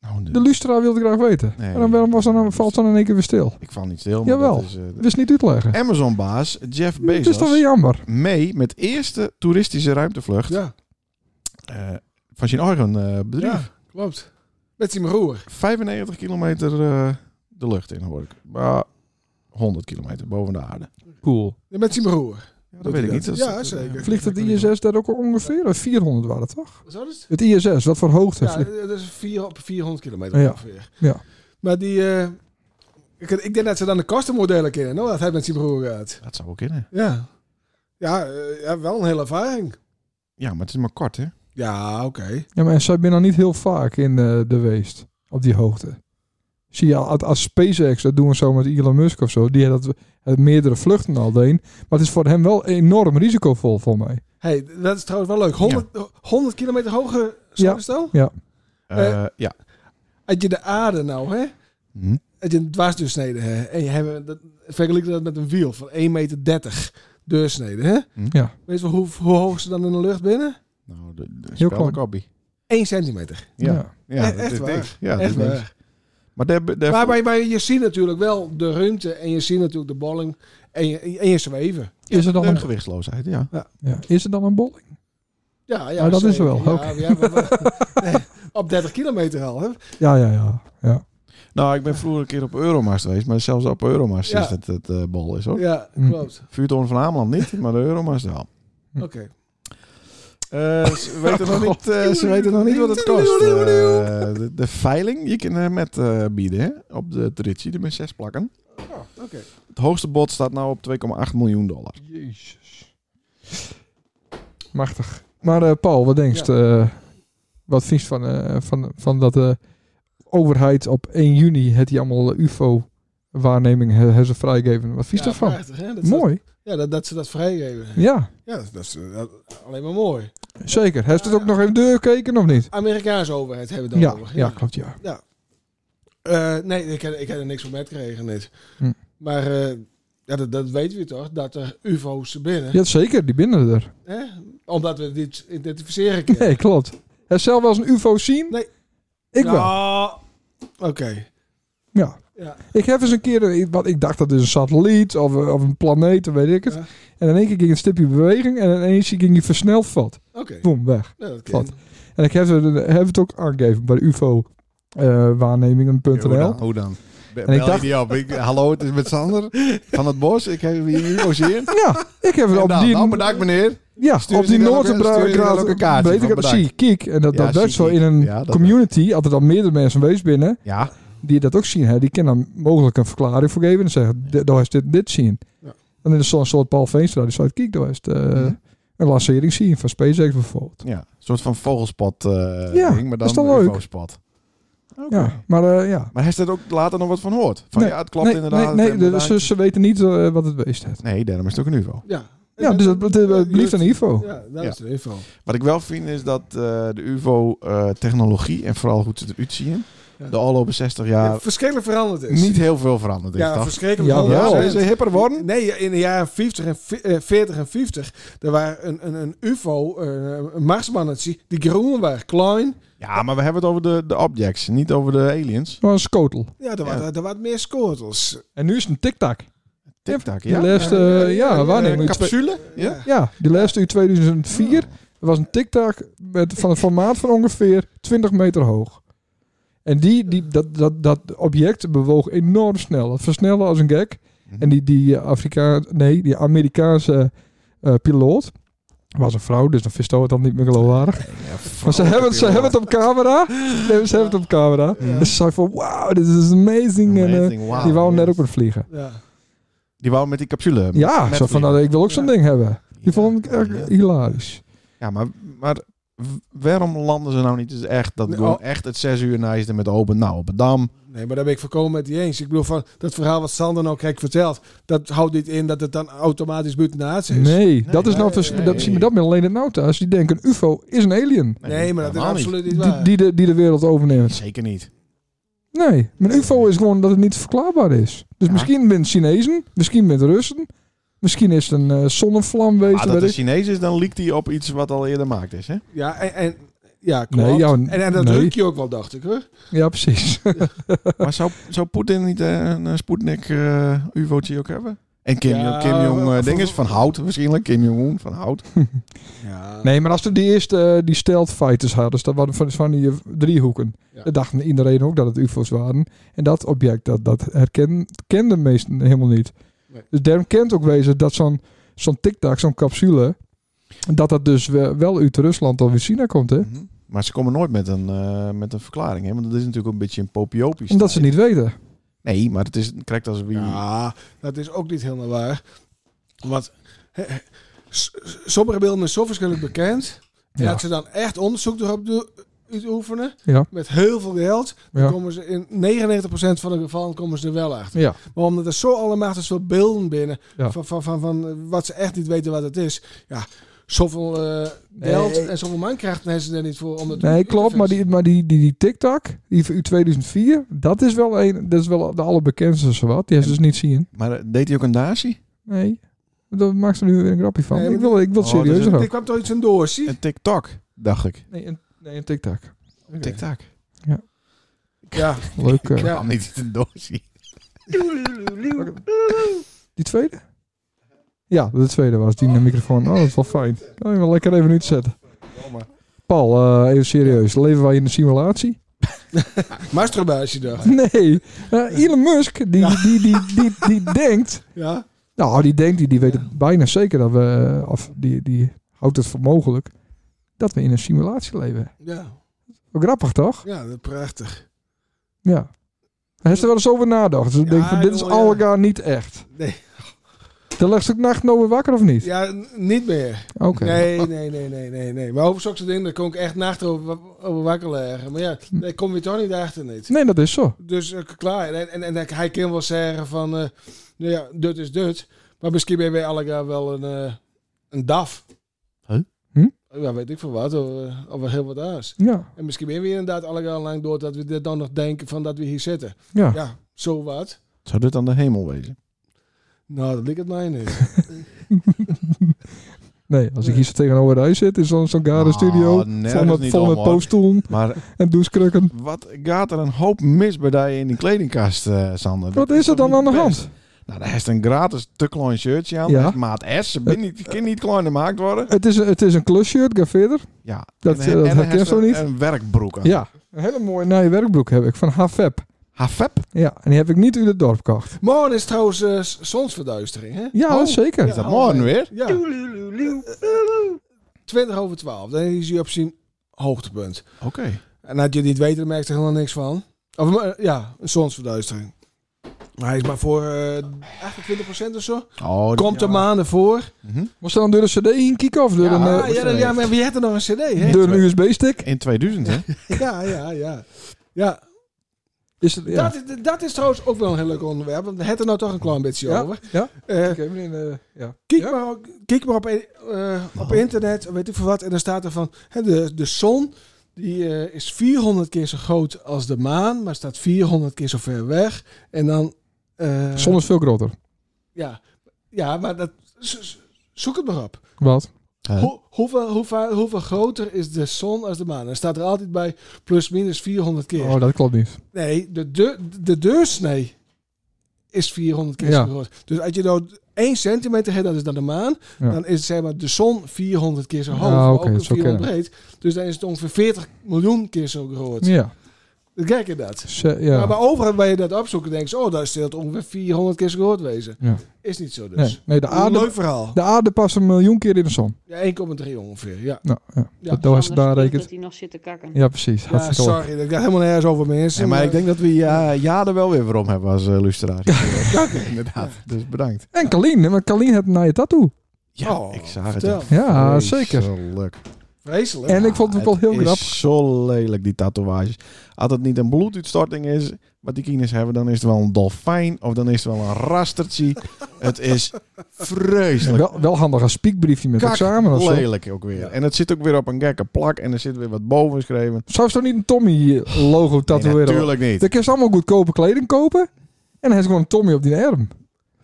S2: Nou, de-
S1: De Lustra wilde graag weten.
S2: Nee.
S1: Waarom, waarom was dan, dan- valt dan in één keer weer stil?
S2: ik val niet stil, maar
S1: Jawel.
S2: dat is... eh, de-
S1: Wist niet uitleggen.
S2: Amazon-baas Jeff
S1: Het is
S2: Bezos
S1: toch weer jammer.
S2: mee met eerste toeristische ruimtevlucht
S5: Ja,
S2: eh, van zijn eigen eh, bedrijf.
S5: ja, klopt. Met zijn broer.
S2: 95 kilometer eh, de lucht in, hoor ik. Maar 100 kilometer boven de aarde.
S1: Cool.
S5: Ja, Met zijn broer.
S2: Ja, dat
S5: Doet
S2: weet ik
S5: hij
S2: niet.
S5: dat?
S2: Dat is-
S5: Ja,
S2: dat-
S5: zeker.
S2: eh,
S1: Vliegt het ISS daar ook ongeveer? 400 waren het toch?
S5: Wat is
S1: Het
S5: het?
S1: ISS, wat voor hoogte?
S5: Ja,
S1: vliegt-
S5: dat is vier, op 400 kilometer
S1: Ja.
S5: ongeveer.
S1: Ja.
S5: Maar die... eh, ik, ik denk dat ze dan de kostenmodellen kennen, no? dat hij met zijn broer gaat.
S2: Dat zou ook kunnen.
S5: Ja. Ja, eh, ja, wel een hele ervaring.
S2: Ja, maar het is maar kort, hè?
S5: Ja, oké.
S1: Ja, maar zij ben dan niet heel vaak in eh, de weest. Op die hoogte. Zie je, als, als SpaceX, dat doen we zo met Elon Musk of zo. Die had dat, had meerdere vluchten al deed. Maar het is voor hem wel enorm risicovol voor mij.
S5: Hey, dat is trouwens wel leuk. 100, 100 kilometer hoge zonnestel.
S2: Eh, ja.
S5: Als je de aarde nou, hè?
S2: Hm.
S5: Als je een dwarsdeursnede hè? En je hebt, dat, vergelijk dat met een wiel van 1,30 meter deursnede, hè?
S2: Hm.
S1: Ja.
S5: Weet je wel hoe, hoe hoog ze dan in de lucht binnen?
S2: Nou, de, de
S1: Heel
S2: spelde
S1: klein.
S2: copy.
S5: 1 centimeter.
S2: Ja.
S1: Ja.
S2: Ja,
S5: E-
S2: dat
S5: echt
S2: is
S5: waar.
S2: niks. Ja, dat
S5: Echt
S2: is niks.
S5: waar.
S2: Maar, de, de,
S5: Maar, maar, maar je ziet natuurlijk wel de ruimte en je ziet natuurlijk de bolling en je, en je zweven.
S1: Is er dan
S2: de
S1: een,
S2: gewichtsloosheid, ja.
S1: ja. Is er dan een bolling?
S5: Ja, ja
S1: Nou, dat is
S5: zeker.
S1: wel,
S5: Ja,
S1: oké.
S5: ja, maar- maar- nee, op 30 kilometer al, hè?
S1: Ja, ja, ja. ja.
S2: Nou, ik ben vroeger een keer op Euromast geweest, maar zelfs op Euromast
S5: Ja.
S2: is dat het eh, bol is, hoor.
S5: Ja,
S1: Hm.
S5: klopt.
S2: Vuurtoren van Ameland niet, maar de Euromast wel.
S5: Oké.
S2: Eh, ze, weten nog niet, eh, ze weten nog niet wat het kost. Eh, de, de veiling, je kan er met eh, bieden hè, op de traditie. Er zijn zes plakken. Oh,
S5: Oké.
S2: Het hoogste bod staat nou op 2,8 miljoen dollar.
S1: Jezus. Machtig. Maar eh, Paul, wat denkst je? wat vies van, eh, van, van dat de overheid op 1 juni het die allemaal eh, UFO-waarneming he- heeft ze vrijgegeven? Wat vies
S5: Ja,
S1: daarvan?
S5: prachtig, hè? Dat ze-
S1: Mooi.
S5: ja, dat, dat ze dat vrijgeven.
S1: Ja,
S5: Ja, dat is eh, dat- alleen maar mooi.
S1: zeker. Heeft het ook
S5: Ja.
S1: nog even doorgekeken of niet?
S5: Amerikaanse overheid hebben we dan
S1: Ja,
S5: over.
S1: ja, klopt, ja.
S5: Eh, nee, ik, heb- ik heb er niks van metgekregen net.
S1: Hm.
S5: Maar eh, ja, dat, dat weten we toch, dat er ufo's binnen.
S1: Ja, zeker. Die binnen er.
S5: Hè? Omdat we dit identificeren kunnen.
S1: Nee, klopt. Heb zelf wel eens een UFO zien?
S5: Nee. Nou,
S1: Ik
S5: Ja,
S1: wel.
S5: Oké.
S1: Ja.
S5: Ja.
S1: Ik heb eens een keer, een- wat ik dacht dat is een satelliet of, eh, of een planeet, of weet ik het.
S5: Ja.
S1: En in één keer ging een stipje beweging en in één keer ging hij versneld vat.
S5: Oké.
S1: Boom, weg.
S5: Nou, dat kan.
S1: Wat? En ik heb, het- heb het ook aangegeven bij ufo eh waarnemingen.nl.
S2: Hoe dan?
S1: En ik
S2: Bel
S1: dacht-
S2: je die op. Ik, hallo, het is met Sander van het Bos. Ik heb hier nu logeerd.
S1: Ja, ik heb
S2: En
S1: er op
S2: dan,
S1: die,
S2: nou, bedankt meneer.
S1: ja,
S2: stuur
S1: op
S2: ze
S1: die
S2: dan ook- stuur ze dan
S1: Noorderbraad
S2: ook een kaartje
S1: Weet ik het,
S2: van bedankt.
S1: zie, kijk. En dat,
S2: Ja,
S1: dat
S2: zie
S1: werd zo
S2: ik.
S1: in een
S2: Ja, dat-
S1: community, altijd al meerdere mensen wees binnen,
S2: Ja,
S1: die dat ook zien. Hè. Die kunnen dan mogelijk een verklaring voor geven en zeggen, "Dit- daar is dit, dit zien.
S5: Ja.
S1: En dan is zo'n soort Paul Veenstra, die zei, kijk, daar is het, eh,
S2: Mhm.
S1: een lancering zien van SpaceX bijvoorbeeld.
S2: ja. Een soort van vogelspot eh,
S1: Ja,
S2: ding, maar dan
S1: is toch
S2: een
S1: leuk?
S2: UFO-spot. Oké.
S1: Ja, maar eh, ja.
S2: Maar heeft er ook later nog wat van gehoord? Van
S1: Nee,
S2: ja, het klopt
S1: nee,
S2: inderdaad. het
S1: Nee, nee
S2: inderdaad.
S1: ze, ze weten niet eh, wat het weest heeft.
S2: nee, daarom is het ook een UFO.
S5: Ja.
S1: Ja, dus dat- dat- dat- dat blijft een info.
S5: Ja, dat
S2: Ja.
S5: is een info.
S2: Wat ik wel vind is dat eh, de UFO-technologie en vooral hoe ze eruit zien,
S5: Ja.
S2: de afgelopen 60
S5: Ja,
S2: jaar
S5: verschrikkelijk veranderd is.
S2: niet heel veel veranderd is.
S5: ja,
S2: toch?
S5: verschrikkelijk
S1: Ja,
S5: veranderd.
S1: wel.
S5: Ja,
S2: Zijn ze hipper worden?
S5: Nee, in de jaren 50 en vi- eh, 40 en 50, er waren een, een, een UFO, eh, een marsmannetje, die groen waren, klein.
S2: Ja, maar we hebben het over de, de objects, niet over de aliens.
S1: Maar een schotel.
S5: Ja, er waren er waren meer scortels.
S1: En nu is het een tic-tac.
S2: Tic-tac,
S1: Die
S2: ja.
S1: laatste, eh, ja,
S5: ja,
S1: waar nemen
S2: Een
S1: we iets-
S2: capsule? Ja.
S1: Ja, die laatste in 2004 was een tic-tac met, van een formaat van ongeveer 20 meter hoog. En die, die, dat, dat, dat object bewoog enorm snel. Het versnelde als een gek.
S2: Mhm.
S1: En die, die, eh, Afrika, nee, die Amerikaanse eh, piloot was een vrouw, dus dan vist het dan niet meer geloofwaardig. Maar ze hebben, het- ze hebben het op camera. Nee, ze hebben het op camera.
S5: Ja.
S1: Dus ze zei van, wauw, dit is amazing. En, eh,
S2: Amazing, wauw.
S1: die wou net ook weer vliegen.
S5: Ja.
S2: Die wou met die capsule. met-
S1: Ja,
S2: met
S1: zo van,
S2: vliegen.
S1: nou, ik wil ook zo'n
S5: Ja.
S1: ding hebben. Die vond ik
S2: Ja,
S1: echt
S2: ja.
S1: hilarisch.
S2: Ja, maar, maar w- waarom landen ze nou niet eens echt? Dat
S5: Nou,
S2: gewoon echt het zes uur naast met open. Nou, op het dam.
S5: Nee, maar daar ben ik voorkomen met die eens. Ik bedoel, van dat verhaal wat Sander nou kijk vertelt, dat houdt niet in dat het dan automatisch buitenaards is.
S1: Nee, dat is nou
S2: nee,
S1: vers-
S2: nee,
S1: dat
S2: nee.
S1: zien we dat met alleen het Nauta. Die denken een UFO is een alien
S5: Nee, maar dat is
S2: helemaal niet.
S5: absoluut niet
S1: die,
S5: waar.
S1: die, de, die de wereld overneemt.
S2: Zeker niet.
S1: Nee, maar een UFO is gewoon dat het niet verklaarbaar is. Dus
S2: Ja.
S1: misschien met Chinezen, misschien met Russen, misschien is het een eh, zonnevlam
S2: Maar
S1: weet je
S2: Ah, dat
S1: weet
S2: de
S1: ik.
S2: Chinees is, dan liekt hij op iets wat al eerder maakt is, hè?
S5: Ja, en, en ja, klopt.
S1: Nee, ja,
S5: en, en dat
S1: nee.
S5: druk je ook wel, dacht ik hoor.
S1: Ja, precies.
S2: maar zou, zou Poetin niet eh, een eh, Sputnik eh UFO'tje ook hebben? En Kim,
S5: Ja,
S2: Kim Jong
S5: eh,
S2: eh ding is van hout waarschijnlijk. Kim Jong-un van hout.
S5: Ja.
S1: nee, maar als we die eerste eh, die stealth fighters hadden, dus dat waren van, van die eh, driehoeken.
S5: Ja.
S1: Dat dacht iedereen ook dat het UFO's waren. En dat object, dat, dat herken- kenden meesten helemaal niet.
S5: Nee.
S1: Dus daarom kent ook wezen dat zo'n zo'n tic-tac, zo'n capsule, dat dat dus we- wel uit Rusland of uit China komt, hè?
S2: Mhm. Maar ze komen nooit met een, eh, met een verklaring, hè? Want dat is natuurlijk ook een beetje een popiopisch.
S1: Omdat ze niet weten.
S2: Nee, maar het is correct als wie...
S5: Ja, dat is ook niet helemaal waar. Want hè, hè, s- s- sommige beelden zijn zo verschillend bekend. En
S1: Ja.
S5: dat ze dan echt onderzoek erop doen- uitoefenen.
S1: Ja.
S5: Met heel veel geld. Dan
S1: Ja.
S5: komen ze in 99% van de gevallen komen ze er wel achter.
S1: Ja.
S5: Maar omdat er zo allemachtig veel beelden binnen.
S1: Ja.
S5: Van, van, van, van eh, wat ze echt niet weten wat het is. Ja, zoveel eh,
S1: Nee.
S5: geld en zoveel mankracht hebben ze er niet voor. Om dat
S1: Nee,
S5: te
S1: klopt. Maar die, maar die, die, die tic-tac, die van u 2004, dat is wel, een, dat is wel de allerbekendste zowat. Die heeft ze dus niet zien.
S2: Maar eh, deed hij ook een datie?
S1: Nee. Daar maakt ze nu weer een grapje van.
S5: Nee, maar
S1: ik wil, ik wil het
S2: Oh, dat is
S1: serieus
S2: een
S1: houden.
S5: Er kwam toch iets een door, zie?
S2: Een TikTok, dacht ik.
S1: Nee, een, nee, een tic-tac.
S2: TikTok.
S5: Ja.
S1: Leuk. eh.
S5: Ja.
S2: Kan niet een dosie.
S1: Die tweede? Ja, de tweede was die met de microfoon. Oh, dat is wel fijn. Kan je wel lekker even uitzetten. Paul, eh, even serieus. Leven wij in een simulatie?
S5: Masturbatie daar.
S1: Nee. Eh, Elon Musk, die, die, die, die, die, die denkt...
S5: Ja.
S1: Nou, die denkt, die, die weet het bijna zeker dat we... eh, Of die, die houdt het voor mogelijk dat we in een simulatie leven.
S5: Ja.
S1: Wel grappig, toch?
S5: Ja, dat is prachtig.
S1: Ja. Hij heeft er wel eens over nagedacht. Dus ik denk van, dit is
S5: joh,
S1: al
S5: ja.
S1: allegaar niet echt.
S5: Nee.
S1: Dan legt ze ook nacht nou weer wakker of niet?
S5: Ja, n- niet meer.
S1: Oké.
S5: Nee, nee, nee, nee, nee, nee. Maar over zulke dingen, daar kon ik echt nacht over, wa- over wakker leggen. Maar ja, daar kom je toch niet achter niet.
S1: Nee, dat is zo.
S5: Dus eh, klaar. En, en, en hij kan wel zeggen van, eh, nou ja, dit is dit. Maar misschien ben je bij Allega wel een, eh, een DAF.
S2: Huh?
S1: Hm?
S5: Ja, weet ik veel wat. Of, eh, of wel heel wat anders.
S1: Ja.
S5: En misschien ben je inderdaad Allega lang door dat we dit dan nog denken van dat we hier zitten.
S1: Ja.
S5: Ja, zo wat.
S2: Zou dit dan de hemel wezen?
S5: Nou, dat lijkt het mij niet.
S1: Nee, als ik hier zo tegenover de huis zit in zo'n zo'n gare
S2: Ah,
S1: studio.
S2: nergens
S1: Vol met,
S2: niet
S1: vol
S2: om,
S1: met
S2: hoor.
S1: poststoelen
S2: Maar
S1: en douchekrukken.
S2: wat gaat er een hoop mis bij die in die kledingkast, eh, Sander?
S1: Wat is er
S2: toch
S1: dan aan de
S2: niet best?
S1: hand?
S2: Nou, daar heeft een gratis te klein shirtje aan.
S1: Ja.
S2: met Maat S. Ze ben niet, die kan niet kleiner gemaakt worden.
S1: Het is, een- het is een klusshirt, ga verder.
S2: Ja.
S1: Dat- eh,
S2: En- en
S1: dat
S2: hij
S1: herken je
S2: heeft
S1: zo
S2: een-
S1: niet?
S2: Een werkbroek aan.
S1: Ja, een hele mooie nieuwe werkbroek heb ik van HFAB.
S2: Hafep.
S1: Ja, en die heb ik niet uit het dorp gekocht.
S5: Morgen is trouwens eh, s- zonsverduistering, hè?
S1: Ja,
S2: Oh,
S1: zeker.
S2: Is dat
S5: Ja,
S2: morgen
S5: oh,
S2: weer?
S5: Ja, 20 over 12. Dan is hij op zijn hoogtepunt.
S2: Oké.
S5: En had je het niet weten, dan merk je er helemaal niks van. Of eh, ja, een zonsverduistering. Maar hij is maar voor eh 28% of zo.
S2: Oh,
S5: Komt er
S2: ja.
S5: maanden voor.
S2: Mhm.
S1: Moest er dan door de cd heen kieken of door
S2: Ja,
S1: een, eh,
S5: Ah, ja, dan- ja, maar wie had er nog een cd, hè?
S1: door een USB-stick?
S2: In 2000, hè?
S5: Ja, ja, ja. Ja,
S1: Is het, ja.
S5: Dat, is, dat is trouwens ook wel een heel leuk onderwerp. Want we hebben het er nou toch een klein beetje
S1: Ja.
S5: over.
S1: Ja.
S5: Eh,
S1: Oké, meneer, eh, ja.
S5: Kijk,
S1: Ja?
S5: maar, ook- kijk maar op, eh, op internet, weet ik veel wat. En dan staat er van, hè, de, de zon die, eh, is 400 keer zo groot als de maan, maar staat 400 keer zo ver weg. En dan... eh,
S1: De zon is veel groter.
S5: Ja, ja maar dat, zo- zo- zoek het maar op.
S1: Wat?
S2: Huh?
S5: Hoe, hoeveel, hoeveel, hoeveel groter is de zon als de maan? Dan staat er altijd bij plus minus 400 keer.
S1: Oh, dat klopt niet.
S5: Nee, de, de, de deursnee is 400 keer
S1: Ja.
S5: zo groot. Dus als je nou 1 centimeter hebt, dat is dan de maan.
S1: Ja.
S5: Dan is zeg maar, de zon 400 keer zo hoog.
S1: Ah,
S5: maar
S1: oké,
S5: ook
S1: dat zou
S5: 400 breed. Dus dan is het ongeveer 40 miljoen keer zo groot.
S1: Ja.
S5: Kijk je dat.
S1: Ze-
S5: Maar
S1: ja.
S5: bij overal waar je dat opzoekt, denk je, oh, daar stelt ongeveer 400 keer zo groot wezen.
S1: Ja.
S5: Is niet zo dus.
S1: Nee, nee, de,
S5: Een leuk
S1: aarde,
S5: verhaal.
S1: de aarde past een miljoen keer in de zon.
S5: Ja, 1,3 ongeveer. Ja,
S1: Nou, ja.
S5: Ja,
S1: dat, dat was
S4: Sander
S1: het daar
S4: schreeuwt
S1: rekent.
S4: dat hij nog zit te kakken.
S1: Ja, precies.
S5: ja
S1: Hartstikke hoor.
S5: sorry, dat gaat helemaal nergens over mensen.
S2: Ja, maar ik denk dat we ja, ja er wel weer voor om hebben als eh, luisteraar. Ja, inderdaad. Dus bedankt.
S1: En Kalien, hè, want Kalien had naar je tattoo.
S2: Ja,
S5: Oh,
S2: ik zag het.
S5: vertel.
S2: echt
S1: Ja, zeker.
S2: vreselijk.
S5: Vreselijk.
S1: En ik vond het ook wel heel
S2: Het
S1: grappig.
S2: is zo lelijk, die tatoeage. Als het niet een bloeduitstorting is, wat die kines hebben, dan is het wel een dolfijn of dan is het wel een rastertje. het is vreselijk.
S1: Wel, wel handig een spiekbriefje met
S2: Kak,
S1: examen of zo.
S2: lelijk ook weer. En het zit ook weer op een gekke plak en er zit weer wat boven geschreven.
S1: Zou ze toch niet een Tommy-logo
S2: Nee,
S1: tatoeëren?
S2: natuurlijk niet.
S1: Dan kun je allemaal goedkope kleding kopen. En dan heeft ze gewoon een Tommy op die arm.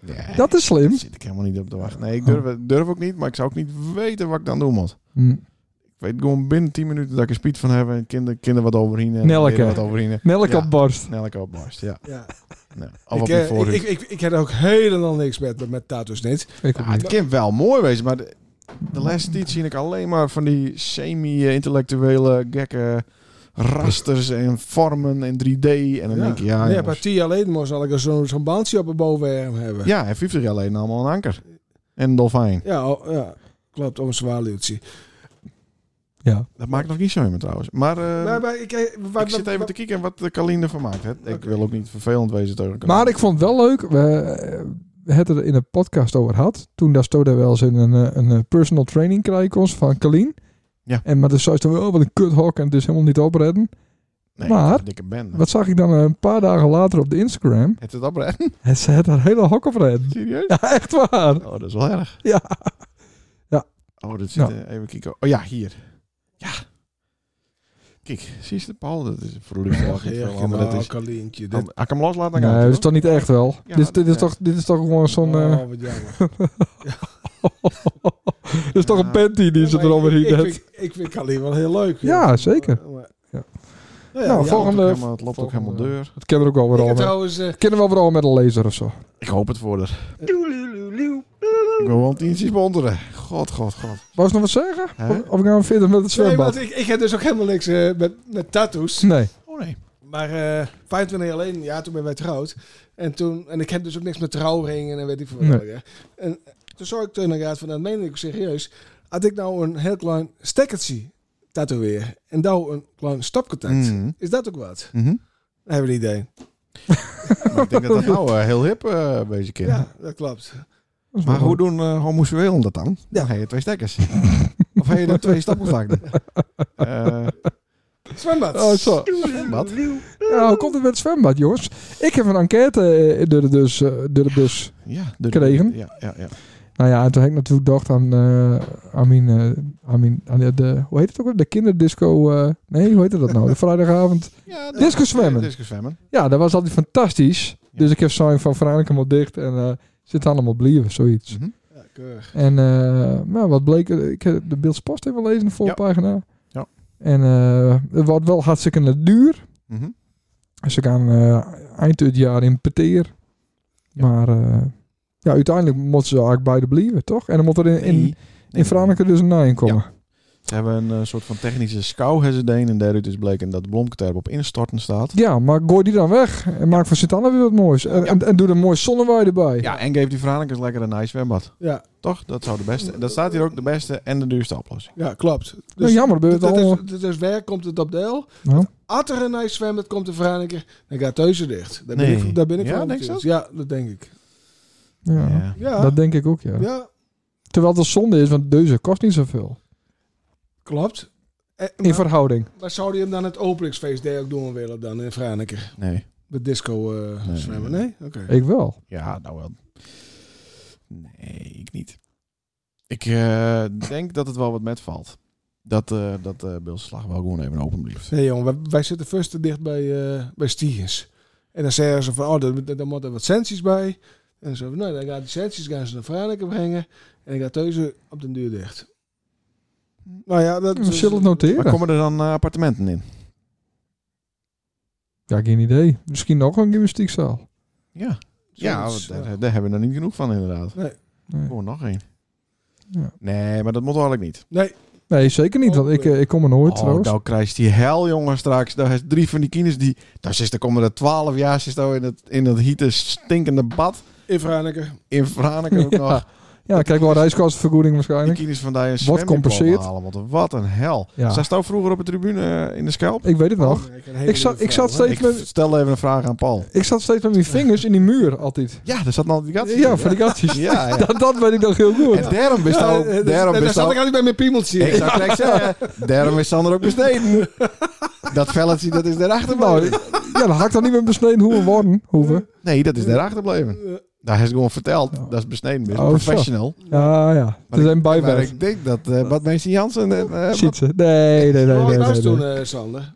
S2: Nee,
S1: Dat is
S2: daar
S1: slim. Oh.
S2: zit ik helemaal niet op te wachten. Nee, ik durf, durf ook niet, maar ik zou ook niet weten wat ik dan doen moet.
S1: Hm.
S2: Ik weet gewoon binnen 10 minuten dat ik een speed van heb en kinderen kinder wat overheen en
S1: Nelke.
S2: weer wat overheen.
S1: Melk
S2: Ja.
S1: op borst.
S2: Nelke opbarst, ja.
S5: Ja.
S2: Nee, of op
S5: Ik,
S2: je
S5: eh, ik,
S2: voorhoofd.
S5: ik, ik, ik heb er ook helemaal niks met, met tattoos niet.
S1: Ik ook
S2: Ja, het
S1: niet.
S2: kan wel mooi wezen, maar de, de laatste tijd zie ik alleen maar van die semi-intellectuele gekke rasters en vormen en 3D. En dan denk ik, ja,
S5: nee,
S2: jongens.
S5: een paar tien jaar geleden moest ik er zo'n zo'n bandje op een bovenarm hebben.
S2: ja, en 50 jaar geleden allemaal een anker. En een dolfijn.
S5: Ja, oh, ja. klopt, om een zwaarluwtje.
S1: Ja.
S2: Dat maakt nog niet zo in trouwens. Maar eh,
S5: maar, maar ik, eh, wat-
S2: ik zit
S5: wat-
S2: even
S5: wat-
S2: te kijken wat de Kaline ervan maakt. Hè. Ik
S5: Oké.
S2: wil ook niet vervelend wezen tegen Kaline.
S1: Maar ik vond het wel leuk. We eh, we hadden er in de podcast over gehad. Toen daar Stoda wel eens in een, eh, een eh, personal training krijgen kon van Kalien.
S2: Ja.
S1: En maar dan zei ze dan, oh, wat een kuthok en het is helemaal niet opredden.
S2: nee,
S1: maar-
S2: Dikke ben.
S1: Wat zag ik dan eh, een paar dagen later op de Instagram?
S2: Het is dat brein?
S1: En ze had haar hele hok opredden.
S2: Serieus?
S1: Ja, echt waar.
S2: Oh, dat is wel erg.
S1: Ja. Ja.
S2: Oh, dat zit
S1: Nou.
S2: eh, even kijken. Oh ja, hier. Ja. Kijk, zie je de Paul? Dat is voor de lucht.
S5: Ach, ja,
S2: maar dat is.
S5: nou, Kalientje,
S2: Als
S5: dit-
S2: ik hem loslaat, dan
S1: Nee,
S2: gaat
S1: dat is
S2: het,
S1: toch
S2: hoor.
S1: niet echt wel?
S2: Ja,
S1: dit, dit, is
S2: ja.
S1: toch, dit is toch gewoon zo'n... eh,
S5: Oh, wat jammer.
S1: dit is toch een panty die ze
S5: Ja, maar ik-
S1: eroverheen
S5: ik,
S1: heeft.
S5: vind- ik vind Kalien wel heel leuk.
S1: Ja, zeker.
S5: Maar- maar-
S1: Ja.
S5: Nou,
S1: Nou,
S5: ja,
S1: volgende-
S2: Het loopt ook helemaal- Het loopt ook
S1: volgende-
S2: helemaal deur.
S1: Dat kennen we ook wel
S5: Ik
S1: weer al.
S5: heb
S1: met-
S5: trouwens... eh,
S1: Kennen we wel weer al met een laser of zo.
S2: Ik hoop het voor haar. Ik wil wel een tientje sponderen. God, god, god.
S1: Wou je nog wat zeggen?
S2: Hè?
S1: Of, of gaan we verder met het
S5: nee,
S1: zwembad?
S5: want ik, ik heb dus ook helemaal niks eh, met, met tattoos.
S1: Nee.
S2: Oh nee.
S5: Maar eh 25 jaar geleden, ja, toen ben wij trouwd. En, toen, en ik heb dus ook niks met trouwringen en weet ik veel wat.
S1: Nee.
S5: allemaal, ja. En eh, toen zag ik toen inderdaad van, dat meen ik serieus. Had ik nou een heel klein stekkertje tatoeëer en nou een klein stopcontact.
S1: Mm.
S2: Mhm.
S5: Is dat ook wat?
S2: Mhm.
S5: Dan hebben we een idee.
S2: Maar ik denk dat dat nou eh, heel hip eh bezig is.
S5: Ja, dat klopt.
S1: Dat is
S2: Maar
S1: wel
S2: hoe doen eh homoseksuelen dat dan? Dan heb je twee stekkers. of heb je dan twee stapcontakten? Eh
S5: Zwembad.
S1: Oh, zo.
S2: wat?
S1: Ja, hoe komt het met het zwembad, jongens? Ik heb een enquête eh, door de bus. eh, door de bus.
S2: Ja, de,
S1: Kregen.
S2: Ja, ja, ja.
S1: Nou ja, en toen heb ik natuurlijk gedacht aan, eh, aan mijn... eh, aan mijn aan de, de- hoe heet het ook weer? De kinderdisco... eh, nee, hoe heette dat nou? De vrijdagavond.
S2: ja dat-
S1: Disco zwemmen.
S2: Disco zwemmen.
S1: Ja, dat was altijd fantastisch.
S2: Ja.
S1: Dus ik heb zo'n van Veronica maar dicht en eh, zit allemaal blijven, zoiets.
S2: Mhm.
S5: Ja, keurig.
S1: En eh, nou, wat bleek, eh, ik heb de beeldspost even lezen, de voorpagina.
S2: Ja.
S1: En eh, het wordt wel hartstikke duur.
S2: Mhm.
S1: Ze gaan eh, eind dit jaar in Peteer.
S2: Ja.
S1: Maar eh, ja, uiteindelijk moeten ze eigenlijk beide blijven, toch? En dan moet er in, in,
S2: Nee, nee,
S1: in Franeker dus een naam komen.
S2: Ze hebben een eh, soort van technische schouw hebben ze deen en daaruit is bleken dat de blomketerp op instorten staat.
S1: Ja, maar gooi die dan weg. En maak van Sint-Anne weer wat moois. En, en, en doe er een mooi zonnewaai erbij. Nou,
S2: Ja, en geef die Veronicus lekker een nice zwembad.
S5: Ja,
S2: Toch? Dat zou de beste. Dat staat hier ook de beste en de duurste oplossing.
S5: ja klopt.
S1: nou,
S5: Dus,
S1: jammer, dat
S5: dat,
S1: gebeurt
S5: dat
S1: allemaal.
S5: is, dat is waar komt het op deel.
S1: Nou,
S5: Als er een nice zwembad komt te veranderen, dan gaat Teuze dicht. Daar ben
S2: Nee.
S5: ik, daar ben ik
S2: Ja,
S5: van
S2: denk je
S5: overtuigd. Ja, dat denk ik.
S1: ja.
S2: Ja.
S5: Ja,
S1: Dat denk ik ook, ja.
S5: ja
S1: Terwijl het zonde is, want deuze kost niet zoveel.
S5: klopt. Eh,
S1: In
S5: maar,
S1: verhouding.
S5: maar zou die hem dan het openingsfeest daar ook doen willen dan in Vraneker?
S2: Nee.
S5: Met disco eh,
S2: Nee.
S5: zwemmen? Nee? Oké.
S1: Ik wel.
S2: Ja, nou wel. Nee, ik niet. Ik eh, denk dat het wel wat met valt. Dat, eh dat eh Bilslag wel gewoon even open blijft.
S5: Nee jongen, wij, wij zitten first te dicht bij, eh, bij Stigens. En dan zeggen ze van, oh, dan, dan, dan moet er wat sensies bij. En zo, van, nou, dan gaan die sensies gaan ze naar Vraneker brengen. En dan gaat Teuze op den duur dicht. Nou ja, dat
S1: We zullen het
S2: Dus- Maar
S1: noteren.
S2: komen er dan eh, appartementen in?
S1: Ja, geen idee. Misschien ook een gymnastiekzaal.
S2: Ja. Ja,
S5: Zoiets,
S2: want
S1: eh,
S2: daar, daar hebben we er niet genoeg van inderdaad.
S1: Nee.
S2: Gewoon nog één.
S1: Ja.
S2: Nee, maar dat moet eigenlijk niet.
S5: Nee,
S1: Nee, zeker niet. Want ik, eh, ik kom er nooit,
S2: oh,
S1: trouwens.
S2: nou krijgt die hel, jongen, straks. Daar is drie van die kinders die... Daar zit, daar komen er twaalf jaar zit nou in, het, in dat hiete stinkende bad.
S5: in Vraneker.
S2: In Vraneker ook nog.
S1: Ja, ja kijk wel reiskostenvergoeding
S2: Die
S1: waarschijnlijk.
S2: kinders van daar een
S1: compenseert.
S2: zwemdiploma halen. Want wat een hel.
S1: Ja.
S2: Zij stond vroeger op de tribune eh, in de scalp.
S1: Ik weet het nog.
S5: Ik, een hele
S1: Ik zat,
S5: lieve
S1: ik, zat
S5: vrouw, hè?
S1: steeds
S2: Ik
S1: met,
S2: stel even een vraag aan Paul.
S1: ik zat steeds met mijn vingers in die muur altijd.
S2: Ja, daar zat een alligator.
S1: Ja, van die gatjes.
S2: Ja, ja.
S1: Dat, dat weet ik nog heel goed.
S2: En daarom
S5: Ja,
S2: best al...
S5: eh, dus- en
S2: daarom
S5: daar
S2: best
S5: zat
S2: al...
S5: ik eigenlijk bij mijn piemeltje. Eh,
S2: Ik zou gelijk zeggen, daarom is Sander ook besneden. Dat velletje, dat is daarachter
S1: Nou,
S2: blijven.
S1: ja, dan had ik dan niet meer besneden hoe we worden. Hoeven.
S2: Nee, dat is daarachter blijven.
S5: Eh,
S2: Daar is gewoon verteld, dat is besneden. Is
S1: Oh, zo.
S2: professional.
S1: Ja, ja. Het is een
S2: Maar
S1: bijwerk.
S2: ik denk dat eh wat mensen Jansen en... eh,
S1: Ziet ze. Nee, nee, nee.
S5: hoe
S1: nee,
S5: oud was
S1: nee,
S5: toen,
S1: nee.
S5: eh, Sander?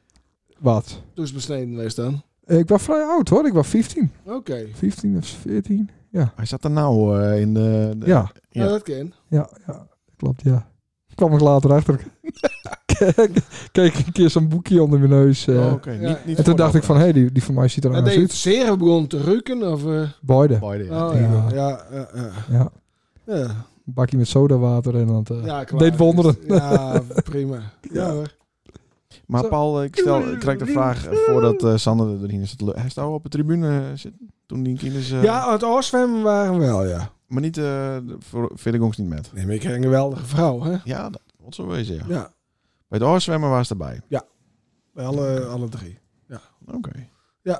S1: Wat?
S5: Toen is besneden geweest dan.
S1: Ik was vrij oud hoor. Ik was 15.
S5: Oké.
S1: 15 of 14.
S2: hij zat er nou eh, in de... de-
S1: Ja,
S2: Ja.
S5: Nou, dat ken.
S1: ja, ja. Klopt, ja. Ik kwam ik later achter. Kijk, Keek een keer zo'n boekje onder mijn neus. eh.
S2: Oh, oké.
S5: Ja.
S2: Niet, eh, niet
S1: en toen dacht ik
S2: voordat-
S1: van, hé, die, die van mij ziet er
S5: En
S1: anders
S5: deed je het
S1: uit.
S5: zeer begon te ruiken? Of, eh,
S1: Beide.
S2: Boy, ja.
S5: oh,
S1: Ja.
S5: ja. Ja, ja, ja.
S1: Ja.
S5: ja.
S1: Een bakje met sodawater en dan... eh,
S5: Ja, klaar.
S1: deed wonderen.
S5: Ja, prima. Ja hoor.
S2: Maar
S1: Zo.
S2: Paul, eh, ik, stel, ik krijg de vraag eh, voordat eh, Sander erin zit. Hij stond op de tribune eh, zitten toen die kinders... eh,
S5: Ja, het oorzwemmen waren we wel, ja.
S2: Maar niet, eh, voor Villigongs niet met.
S5: Nee, maar ik kreeg een geweldige vrouw, hè?
S2: Ja, dat moet zo wezen, ja.
S5: Ja,
S2: Bij het oorzwemmen was ze erbij.
S5: bij alle, alle drie.
S2: Oké. Nou.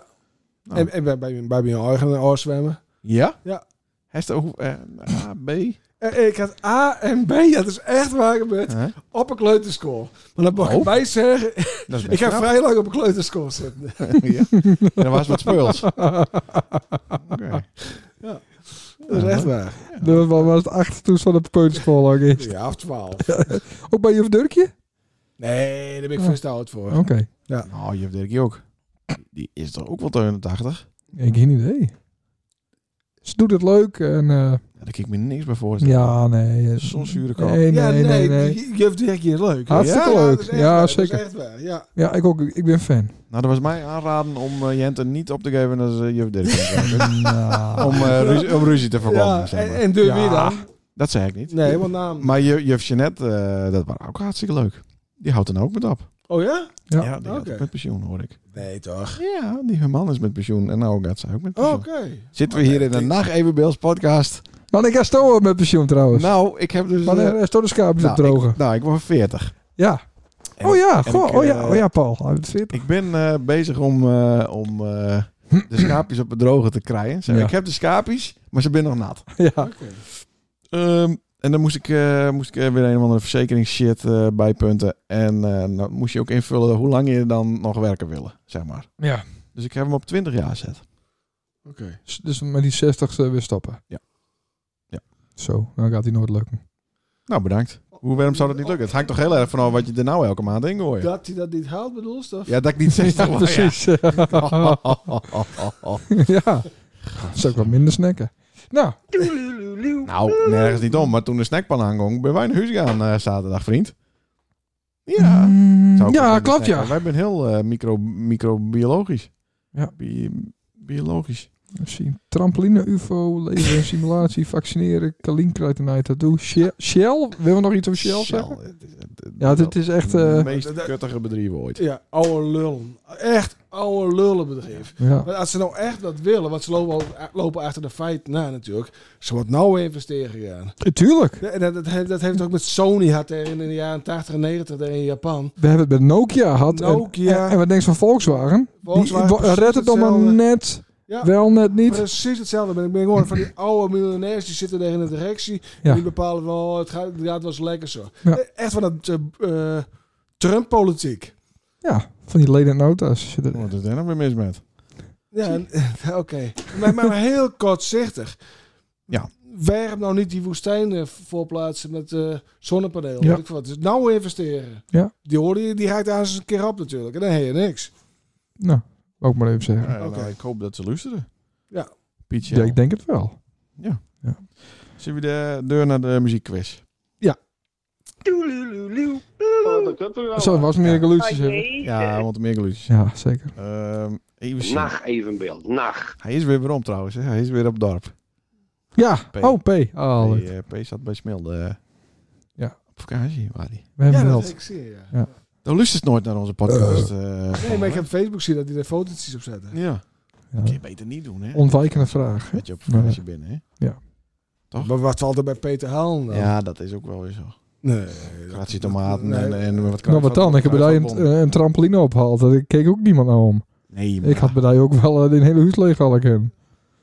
S5: En, en bij, bij, bij mijn eigen oorzwemmen.
S2: Ja?
S5: Ja.
S2: Hester, hoe, eh, A, B?
S5: Eh, Ik had A en B, dat is echt waar gebeurd,
S2: Hè?
S5: op een kleuterschool. Maar dan mag
S2: Oh.
S5: ik bij zeggen,
S2: Dat is
S5: ik
S2: best
S5: ga
S2: knap.
S5: vrij lang op een kleuterschool zitten.
S2: ja. En dan was wat speels. Oké.
S5: Dat is echt waar.
S1: Dat was, was het achtertoes van de peuterschool ook eens.
S5: Ja, of twaalf.
S1: Ook bij juf Durkje?
S5: Nee, daar ben
S1: Ja.
S5: ik vast oud voor.
S1: Oké.
S2: Nou, je hebt Dirkie ook. Die is toch ook wel 82?
S1: Ik geen idee. Ze doet het leuk en... eh,
S2: Ja, daar kan ik me niks bij voorstellen.
S1: ja, nee. eh,
S2: Zo'n zure kop.
S1: Nee,
S5: ja,
S1: nee, nee, nee.
S5: Je hebt direct hier leuk. hè?
S1: Hartstikke leuk.
S5: dat is echt
S1: Ja,
S5: waar,
S1: zeker.
S5: Dat is echt waar, ja.
S1: Ja, ik ook. Ik ben fan.
S2: Nou, dat was mij aanraden om eh Jenten niet op te geven als eh, juf Dirkie.
S1: Nou.
S2: om, eh, ruzie, om ruzie te voorkomen,
S5: ja
S2: zeg
S5: en,
S2: maar.
S5: en doe je wie
S1: Ja.
S5: dan?
S2: Dat zei ik niet.
S5: Nee, want naam.
S2: Maar juf, juf Jeannette, eh, dat was ook hartstikke leuk. Die houdt dan ook met op.
S5: Oh ja?
S1: Ja.
S2: die gaat
S5: Oké.
S2: ook met pensioen, hoor ik.
S5: Nee, toch?
S2: Ja, die hun man is met pensioen en nou gaat ze ook met
S5: Oh, Oké.
S2: pensioen. Zitten we hier in de Nacht Evenbeels podcast.
S1: Maar ik ga stoer met pensioen trouwens.
S2: Nou, ik heb dus...
S1: Maar
S2: eh,
S1: er is toch de schaapjes
S2: nou,
S1: op drogen.
S2: Ik, nou, ik word 40.
S1: Ja.
S2: En-
S1: oh ja,
S2: en
S1: goh,
S2: ik,
S1: oh, ja,
S2: eh,
S1: oh ja, Paul. Hij wordt 40.
S2: Ik ben eh, bezig om, eh, om eh, de schaapjes op het droge te krijgen. Zeg,
S1: Ja.
S2: Ik heb de schaapjes, maar ze zijn nog nat.
S1: Ja.
S5: Oké.
S2: Ehm, en dan moest ik, eh, moest ik eh, weer een of andere verzekeringsshit eh bijpunten. En eh, dan moest je ook invullen hoe lang je dan nog werken willen, zeg maar.
S1: ja.
S2: Dus ik heb hem op 20 jaar gezet.
S5: Oké.
S1: S- Dus met die 60 weer stoppen.
S2: Ja. Ja.
S1: Zo, dan gaat die nooit lukken.
S2: Nou, bedankt. Hoe, waarom zou dat niet lukken? Het hangt toch heel erg van af wat je er nou elke maand in gooit.
S5: Dat hij dat niet haalt, bedoel je?
S2: Ja, dat ik niet 60
S1: Ja,
S2: was,
S1: precies. Oh. Ja. Dat is ook wat minder snacken. Nou,
S2: Nou, nergens niet om. Maar toen de snackpan aangong, ben wij naar huis gaan eh, zaterdag, vriend. Ja.
S1: mm,
S2: Zou ik ook
S1: ja
S2: kunnen
S1: klopt ja.
S2: snacken. Wij zijn heel eh, micro, microbiologisch.
S1: Ja.
S2: Bi- biologisch.
S1: We zien trampoline, UFO, leven en simulatie, vaccineren, Kalien krijgt een eye tattoo. Shell, Shell? Willen we nog iets over Shell, zeggen? Ja, dit is echt... eh,
S2: Het meest kuttige bedrijf ooit.
S5: Ja, oude lullen. Echt oude lullenbedrijf.
S1: ja.
S5: Maar als ze nou echt wat willen, want ze lopen, ook- lopen achter de feiten na natuurlijk. Ze wordt nou investeren gaan.
S1: Eh, Tuurlijk.
S5: Ja, en Dat, dat, heeft, dat heeft ook met Sony had er in de jaren 80 en 90 daar in Japan.
S1: We hebben het met Nokia gehad. en-
S5: Nokia.
S1: En, en wat denk je van Volkswagen?
S5: Volkswagen,
S1: Die, wa-
S5: precies
S1: redt het dan maar
S5: hetzelfde.
S1: net,
S5: Ja.
S1: wel net niet.
S5: Precies hetzelfde. Ben ik ben gewoon van die oude miljonairs die zitten daar in de directie.
S1: Ja.
S5: Die bepalen van, oh, het, gaat, ja, het was lekker zo.
S1: Ja.
S5: Eh, Echt van dat eh, eh, Trump-politiek.
S1: Ja, van die leden nota's. zitten er-
S2: Wat is daar nou weer mis met?
S5: Ja, en- eh, oké. Maar, maar, maar heel kortzichtig.
S2: Ja.
S5: Waarom nou niet die woestijn eh, voorplaatsen met eh zonnepanelen?
S1: Ja.
S5: Weet ik veel wat. Dus nou investeren.
S1: Ja.
S5: Die hoorde je, die raakt aan eens een keer op natuurlijk. En dan heb je niks.
S1: Nou, wou ik maar even zeggen.
S2: Ja, nou, ik hoop dat ze luisteren.
S5: Ja.
S2: Pietje.
S1: Ja, ik denk het wel.
S2: Zien we de deur naar de muziekquiz?
S5: Oh,
S1: Zo was meer geluidjes hebben.
S2: Ja, want meer illusies.
S1: Ja, zeker.
S2: Ehm, even zien.
S3: Nacht evenbeeld. Nacht.
S2: Hij is weer waarom trouwens. Hè? Hij is weer op het dorp.
S1: Ja,
S2: P.
S1: oh, P. Oh,
S2: Hij,
S1: leuk.
S2: eh, P zat bij Smilde. eh,
S1: Ja.
S2: Op vakantie waar hij.
S1: we hebben
S5: ja,
S1: wel.
S5: dat ik zie ja.
S1: Ja.
S2: Dan luistert nooit naar onze podcast. eh,
S5: Nee, maar ik heb Facebook zien dat die er fotootjes op zetten.
S2: Ja.
S1: Ja.
S2: Kun je beter niet doen, hè?
S1: Ontwijkende vraag.
S2: Met je op vakantie binnen, hè? Toch?
S5: Maar wat valt er bij Peter Halen dan?
S1: Nou.
S2: Ja, dat is ook wel weer zo.
S5: Nee.
S2: Gratie tomaten en,
S5: Nee.
S2: en wat
S1: Nou, wat dan? Ik heb bij een,
S2: kruidvatbon.
S1: eh, een trampoline opgehaald. Daar keek ook niemand naar om.
S2: Nee, maar,
S1: eh, Ik had bij die ook wel eh, een hele huis leeg al ik hem.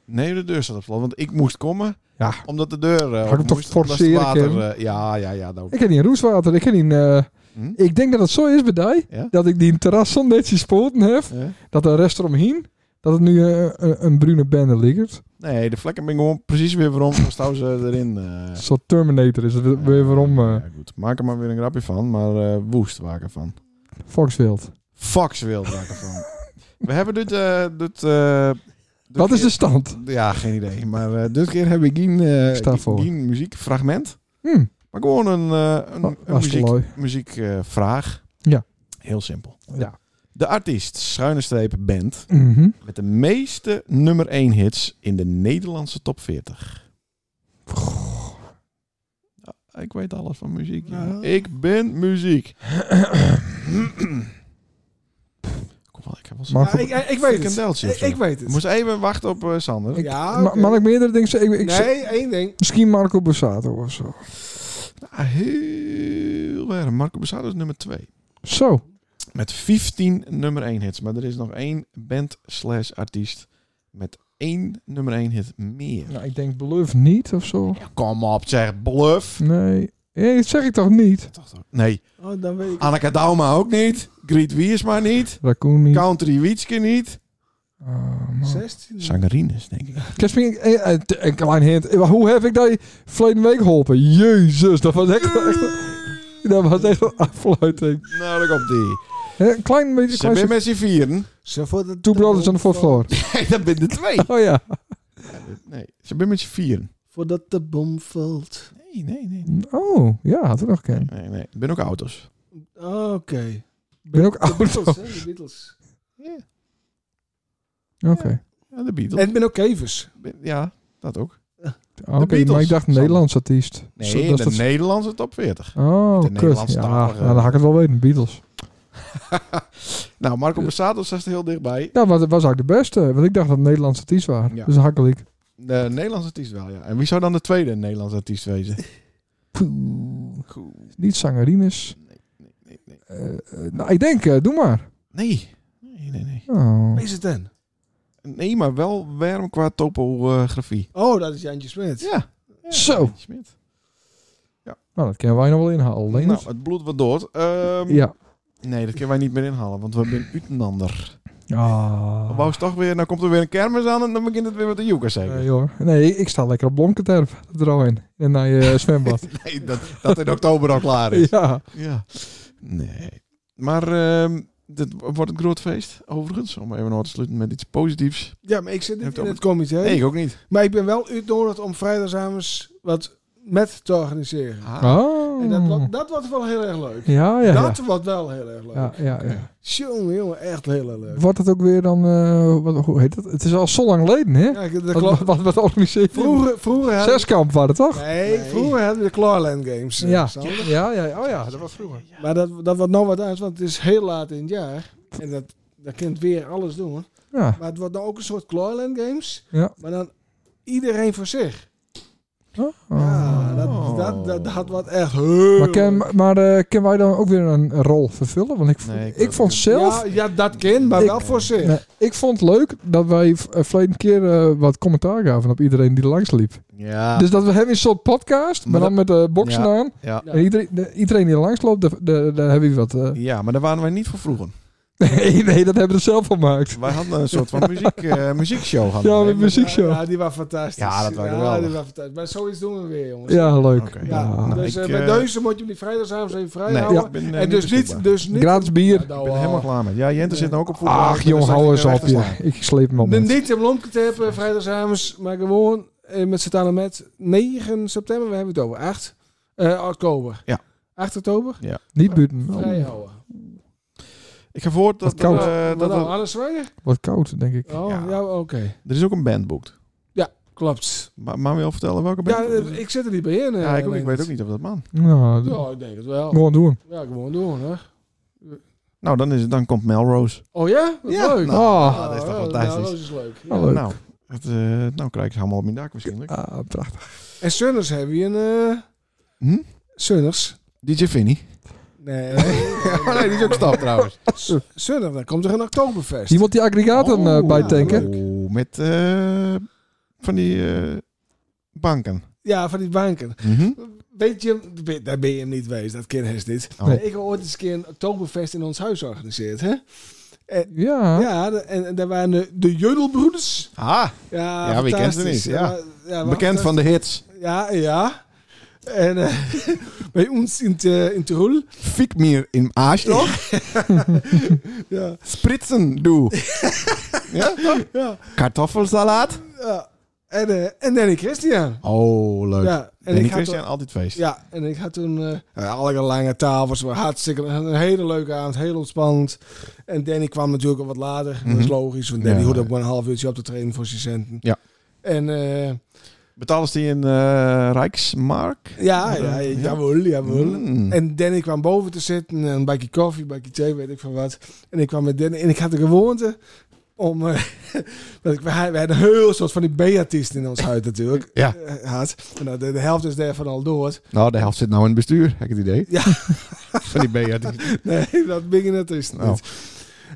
S2: nee, de deur staat op slot. Want ik moest komen.
S1: Ja.
S2: Omdat de deur... eh,
S1: ik
S2: op
S1: hem toch
S2: moest, omdat het
S1: forceren,
S2: water,
S1: Kim?
S2: eh, ja, ja, ja. Dat ook.
S1: Ik heb niet een roeswater. Ik heb niet... eh,
S2: Hm?
S1: ik denk dat het zo is bij die,
S2: Ja?
S1: dat ik die terras zo netjes spoten heb,
S2: Eh?
S1: dat de rest eromheen, dat het nu eh, een, een bruine bende ligt.
S2: Nee, de vlekken ben gewoon precies weer waarom. Dan staan ze erin. eh.
S1: Een soort Terminator is het weer- weer waarom eh
S2: Ja, goed. Maak er maar weer een grapje van. Maar eh, woest waken van. Dus
S1: Foxfield.
S2: Fox wil maken van. We hebben dit... eh, dit eh, dit
S1: Wat is de
S2: keer-
S1: stand?
S2: Ja, geen idee. Maar eh, dit keer heb ik geen, eh,
S1: Sta voor.
S2: geen muziekfragment.
S1: Hm, Ah,
S2: Maar gewoon een, eh, een,
S1: wa-
S2: een
S1: was te
S2: muziek,
S1: looi. Oh,
S2: muziekvraag.
S1: Ja.
S2: Heel simpel.
S1: Ja.
S2: De artiest, schuine streep band,
S1: Mhm.
S2: met de meeste nummer 1 hits in de Nederlandse top 40. Ja, ik weet alles van muziek. ja.
S5: Ja.
S2: Ik ben muziek. Kom wel, ik heb wel zo'n
S1: Marco,
S5: Ja, ik, ik, ik weet
S2: een
S5: het.
S2: deltje.
S5: Ik,
S2: of zo.
S5: ik weet
S2: We
S5: het.
S2: moesten even wachten op eh, Sander.
S5: ja,
S1: ma-
S5: oké.
S1: mag ik meerdere dingen zeggen? Ik, ik zeg-
S5: nee, één ding.
S1: misschien Marco Borsato of zo.
S2: Ah, heel erg. Marco Borsato is nummer 2.
S1: Zo.
S2: Met 15 nummer 1 hits. Maar er is nog één band slash artiest met één nummer 1 hit meer.
S1: Nou, ik denk Bluff niet of zo.
S2: Ja, kom op, zeg bluff.
S1: Nee. Hé, dat zeg ik toch niet?
S2: Nee,
S5: Oh, dan weet ik.
S1: Ah.
S2: Anneke Dauma ook niet. Griet Wiersma niet.
S1: Raccoon niet.
S2: Country Wietske niet.
S1: Ah, man.
S5: 16.
S2: Zangerines, denk ik.
S1: Kerst, misschien- eh, eh, t- een klein hint. Eh, Hoe heb ik dat verleden week geholpen? Jezus, dat was echt, echt- dat was echt een afluiting.
S2: Nou, dan komt die.
S1: Eh, Een klein beetje...
S2: Ze zijn
S1: Klein
S2: met z'n vieren.
S5: Zo voor de
S1: Two brothers on the fourth floor.
S2: Nee, dat ben de twee.
S1: Oh ja.
S2: Nee, ze zijn met z'n vieren.
S5: Voordat de bom valt.
S2: Nee, nee, nee.
S1: Oh, ja, had ik nog ken.
S2: Nee, nee. Ik ben ook auto's.
S5: Oh, Oké.
S1: Ik ben ook
S5: De
S1: oud.
S5: Beatles,
S1: Oké.
S5: hè, de Beatles.
S2: Ja, de Beatles.
S5: En ik ben ook Kevers.
S2: Ja, dat ook.
S1: Oké, maar ik
S2: Beatles.
S1: dacht Nederlands artiest.
S2: Nee,
S1: Zo, dat
S2: in
S1: is
S2: de
S1: dat-
S2: Nederlandse top 40.
S1: Oh,
S2: de
S1: kut.
S2: Nederlandstalige-
S1: Ja, nou, dan had ik het wel weten. Beatles.
S2: Nou, Marco Borsato staat heel dichtbij.
S1: Ja, maar dat Nou, was eigenlijk de beste. Want ik dacht dat het Nederlandse artiest waren.
S2: Ja.
S1: Dus hakkelijk.
S2: De Nederlandse artiest wel, ja. En wie zou dan de tweede Nederlandse artiest wezen? Goed.
S1: Niet zangerines.
S2: Nee, nee, nee.
S1: Eh, eh, nou, ik denk, eh, doe maar.
S2: Nee. Nee, nee, nee.
S1: Oh.
S5: Wie is het dan?
S2: Nee, maar wel warm qua topografie.
S5: Oh, dat is Jantje Smit.
S2: Ja. Ja,
S1: Zo.
S2: Smit.
S1: Nou, dat kunnen wij nog wel inhalen. Alleen dus.
S2: Nou, het bloed wat dood. Ehm,
S1: Ja.
S2: Nee, dat kunnen wij niet meer inhalen, want we zijn uitenander.
S1: Ah.
S2: Wou ze toch weer, nou komt er weer een kermis aan en dan begint het weer met de joekers zeker.
S1: Nee hoor. Nee, ik sta lekker op Blomkenterp. Er al in. En naar je zwembad.
S2: Nee, dat, dat in oktober al klaar is.
S1: ja.
S2: Ja. Nee. Maar ehm dit wordt een groot feest, overigens. Om even af te sluiten met iets positiefs.
S5: Ja, maar ik zit
S2: Heeft
S5: niet in
S2: ook-
S5: het comité.
S2: Nee, ik ook niet.
S5: Maar ik ben wel uitnodigd om vrijdagavond wat met te organiseren.
S2: Ah,
S1: Oh.
S5: En dat, wordt- dat wordt wel heel erg leuk.
S1: Ja, ja, ja.
S5: Dat wordt wel heel erg leuk.
S1: ja, ja, ja.
S5: Jongen, jongen, echt heel erg leuk.
S1: Wordt het ook weer dan... eh, wat, hoe heet het? Het is al zo lang geleden, hè?
S5: Ja, de
S1: Wat,
S5: Cla-
S1: wat, wat, wat organiseer je?
S5: vroeger, vroeger, hadden,
S1: Zeskamp waren het, toch?
S5: nee, vroeger hadden we de Clawland Games. eh,
S1: Ja.
S5: Sander.
S1: Ja, ja. Oh ja, dat was vroeger.
S5: Maar dat, dat wordt nou wat uit, want het is heel laat in het jaar. En dat, dat kunt weer alles doen. hoor.
S1: Ja.
S5: Maar het wordt nou ook een soort Clawland Games.
S1: Ja.
S5: Maar dan iedereen voor zich.
S1: Oh.
S5: Ja, dat, dat, dat, dat wordt echt heel...
S1: Maar, ken, maar eh, ken wij dan ook weer een rol vervullen? Want ik, vond-
S2: Nee, ik
S1: ik,
S2: weet het
S1: vond
S2: niet.
S1: zelf...
S5: Ja, ja, dat kind, maar
S1: Ik-
S5: wel voor zich.
S1: Nee, ik vond het leuk dat wij v- eh, verleden keer eh, wat commentaar gaven op iedereen die er langs liep.
S2: Ja.
S1: Dus dat we hebben een soort podcast, maar,
S2: Maar
S1: dan met de boksen
S2: Ja.
S1: aan.
S2: ja.
S5: Ja.
S1: En iedereen, de- iedereen die er langs loopt, daar de, daar hebben we wat... eh,
S2: Ja, maar daar waren wij niet voor vroeger.
S1: nee, nee, dat hebben we er zelf van gemaakt.
S2: Wij hadden een soort van muziek, eh, muziekshow. Hadden
S1: Ja,
S2: wij.
S1: met muziekshow.
S5: Ja, die was fantastisch.
S2: Ja, dat was
S5: Ja,
S2: geweldig.
S5: die was fantastisch. Maar zoiets doen we weer, jongens.
S1: Ja, leuk.
S2: Oké.
S5: Ja,
S1: Ja.
S2: Nou,
S5: dus
S2: ik,
S5: eh, bij
S2: eh,
S5: Deuzen moet je hem die vrijdagavond even vrij
S2: Nee,
S5: houden.
S2: ik ben, eh,
S5: en dus niet,
S2: beschikbaar.
S5: dus niet...
S1: Gratis bier.
S5: nou,
S2: Ik ben er
S5: al.
S2: helemaal klaar met. Ja, Jente zit nou ook op voetbal.
S1: Ach,
S2: Ik ben
S1: jong,
S2: er
S1: hou
S2: straks
S1: eens
S2: weer
S1: op.
S2: weg te slaan.
S1: je. Ik sleep hem op.
S5: De
S1: met.
S5: niet om lomke te hebben, vrijdagavond, maar gewoon eh, met z'n talen met 9 september, we hebben het over 8 eh, oktober.
S2: Ja. Nou.
S5: 8 oktober,
S1: Niet buiten. Oh,
S5: vrij houden.
S2: Ik heb gehoord dat,
S1: Wat koud.
S2: eh,
S5: Uh,
S2: dat
S5: dat
S2: er,
S5: Anne Zwijger?
S1: Wat koud, denk ik.
S5: Oh, ja,
S2: Ja.
S5: oké.
S2: er is ook een band boekt.
S5: Klopt.
S2: Maar, maar wil je al vertellen welke band?
S5: Ja,
S2: het is?
S5: eh, ik zit er niet bij in. eh,
S2: ja, ik, ook- ik
S5: Leonard.
S2: weet ook niet of dat man.
S1: Nou, d-
S5: Ja, ik denk het wel.
S1: gewoon doen.
S5: Ja, gewoon doen, hè.
S2: Nou, dan, is het, dan komt Melrose.
S5: Oh ja? Wat
S2: Ja,
S5: leuk.
S2: nou,
S1: Ah.
S2: dat is toch
S5: ja,
S2: fantastisch.
S5: Nou, dat is leuk. Ja.
S1: Ah, leuk.
S2: Nou, het, eh, nou krijg ik ze allemaal op mijn dak waarschijnlijk.
S1: Ah, prachtig.
S5: En Sunners hebben je een... eh
S2: Hm?
S5: Sunners?
S2: DJ Vinnie.
S5: Nee.
S2: Oh nee, die is ook stap trouwens.
S5: S- Sunners, dan komt er een Oktoberfest.
S1: Iemand die aggregaten eh,
S5: Oh,
S1: bijtanken.
S5: ja,
S2: Oeh, met eh, van die eh, banken.
S5: Ja, van die banken.
S2: Mhm.
S5: Weet je, hem- daar ben je hem niet geweest, dat kind is niet.
S2: Oh. Nee.
S5: Ik heb ooit eens een keer een Oktoberfest in ons huis georganiseerd, hè?
S1: Ja.
S5: Ja, de- en, en daar waren de, de Jodelbroeders.
S2: Ah,
S5: Ja,
S2: Ja, wie kent ze
S5: fantastisch.
S2: niet? Ja.
S5: maar- ja, maar-
S2: bekend van de hits.
S5: Ja, ja. En eh, bij ons in, te, in Tirol.
S2: Fik meer in Aasje.
S5: Ja,
S2: Spritsen doe.
S5: ja,
S2: Kartoffelsalaat.
S5: ja. En, eh en Danny Christian.
S2: Oh, leuk.
S5: Ja, en
S2: Danny
S5: ik had
S2: Christian, altijd feest.
S5: Ja, en ik had toen eh, ja, alle lange tafels, maar hartstikke een hele leuke avond, heel ontspannend. En Danny kwam natuurlijk al wat later, dat is
S2: Mhm.
S5: logisch, want Danny
S2: Ja.
S5: hoorde ook maar een half uurtje op te trainen voor zijn centen.
S2: Ja.
S5: En eh,
S2: Betalen ze die in eh, Rijksmark?
S5: ja, ja,
S2: Ja.
S5: jawel, jawel.
S2: Mm.
S5: En Danny kwam boven te zitten, een bakje koffie, een bakje thee, weet ik van wat. En ik kwam met Danny en ik had de gewoonte om... eh, want ik, wij, wij hadden een heel soort van die B-artiesten in ons huis natuurlijk.
S2: Ja.
S5: eh, had. En nou, de, de helft is daarvan al dood.
S2: Nou, de helft zit nou in het bestuur, heb ik het idee.
S5: Ja.
S2: Van die BA. die-
S5: Nee, dat begin is niet.
S2: Oh.
S5: Nou.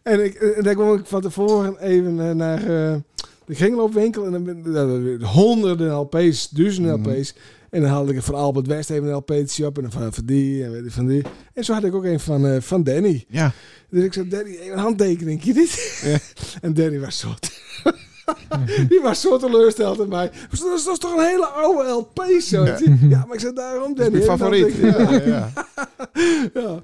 S5: En ik, en daar kwam ik van tevoren even eh, naar eh, de kringloopwinkel. En dan ben eh, honderden LP's, duizenden
S2: Mhm.
S5: LP's. En dan haalde ik van Albert West even een LP'tje op. En dan van, van die en weet ik van die. En zo had ik ook een van, eh, van Danny.
S2: Ja.
S5: Dus ik zei, Danny, even een handtekening, je dit?
S2: Ja.
S5: En Danny was zo... Die was zo teleurgesteld in mij. Dus Dat is, dat is toch een hele oude LP, zo.
S2: Ja.
S5: Ja, maar ik zei, daarom,
S2: Dat is
S5: Danny.
S2: mijn
S5: even een
S2: favoriet.
S5: handtekening.
S2: Ja, ja.
S5: Ja,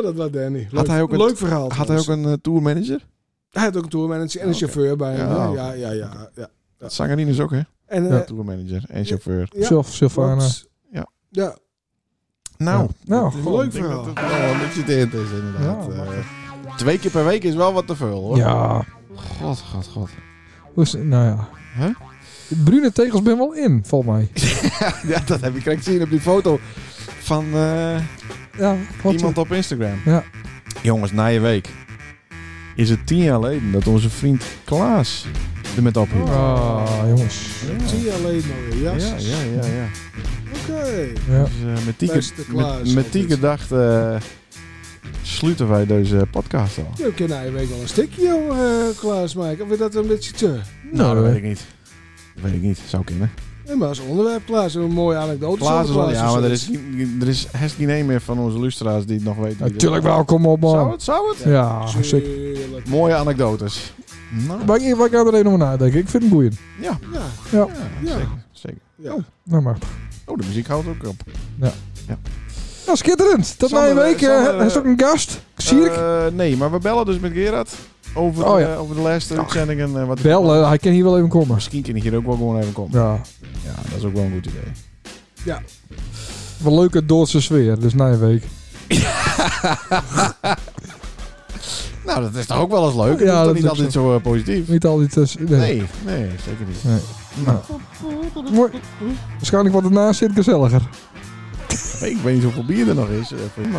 S5: nou, dat was Danny. Leuk,
S2: Had hij ook een-
S5: leuk verhaal.
S2: Had hij ook een eh, tourmanager?
S5: hij had ook een tourmanager en een
S2: Ja, oké.
S5: chauffeur bij hem.
S2: Ja,
S5: Ja,
S2: oké.
S5: ja, ja. ja, ja.
S2: Dat zangerines ook, hè?
S5: En, eh,
S2: Ja. Tourmanager en chauffeur.
S5: Ja.
S1: Zelf, Sylvana.
S5: klopt.
S2: eh. Ja.
S5: Ja.
S2: Nou,
S1: Nou,
S2: dat is wel-
S5: leuk
S2: ik denk
S5: verhaal.
S2: Dat het wel een beetje teerend is, inderdaad.
S1: Ja, maar-
S2: Eh, twee keer per week is wel wat te veel, hoor.
S1: Ja.
S2: God, god, god.
S1: Hoe is- nou ja.
S2: Huh?
S1: De Brune tegels ben wel in, volgens mij.
S2: ja, dat heb ik direct gezien op die foto van eh,
S1: Ja, klopt.
S2: iemand op Instagram.
S1: Ja.
S2: Jongens, na je week is het tien jaar geleden dat onze vriend Klaas er met ophield.
S1: Ah, jongens.
S5: Zie je alleen maar weer. Ja,
S2: Ja, ja, ja, ja.
S5: Oké.
S1: Ja.
S2: Dus, eh, met die
S5: Beste
S2: ged-
S5: Klaas
S2: met, met die
S5: altijd.
S2: gedachte eh, sluiten wij deze podcast al.
S5: Je kan na je week wel een stukje, joh, eh Klaas maken. Of is dat een beetje te?
S1: Nou,
S2: dat
S1: eh,
S2: weet ik niet. Dat weet ik niet. Zou kunnen.
S5: Nee, maar als onderwerp, Klaas, een mooie anekdote.
S2: Klaas is
S5: over
S2: al, ja, maar er
S5: en
S2: is,
S5: zo.
S2: geen- er is helst geen een meer van onze lustra's die het nog weten. wie dat-
S1: Natuurlijk wel, kom op
S2: Zou
S1: man.
S2: het? Zou het?
S1: Ja, zeker.
S5: Tuurlijk.
S2: Mooie anekdotes. Nou,
S1: Maar ik, maar ik ga er even over nadenken. Ik vind het boeiend.
S2: ja.
S5: Ja,
S2: Ja,
S5: Ja.
S2: Zeker, zeker.
S5: ja.
S1: Nou maar.
S2: Oh, de muziek houdt ook op.
S1: Nou, schitterend. Tot na
S2: Sander,
S1: een week. eh,
S2: Sander,
S1: Er is ook een gast. Sierk.
S2: Eh, nee, maar we bellen dus met Gerard over,
S1: Oh,
S2: de,
S1: ja.
S2: over de laatste uitzendingen. eh, wat
S1: Bellen, hij kan hier wel even komen.
S2: Misschien kan ik hier ook wel gewoon even komen.
S1: Ja.
S2: Ja, dat is ook wel een goed idee.
S5: Ja.
S1: Wel leuke Doordse sfeer, dus Nijweek.
S2: Nou, dat is toch ook wel eens leuk?
S1: Ja,
S2: Ja, dat
S1: dat
S2: is
S1: is
S2: niet altijd zo eh, positief.
S1: Niet al die tussen- nee.
S2: Nee, nee, zeker niet.
S1: Nee.
S2: Nou,
S1: Mooi. Waarschijnlijk wordt het na Sint gezelliger.
S2: ik weet niet hoeveel bier er nog is. eh, voor-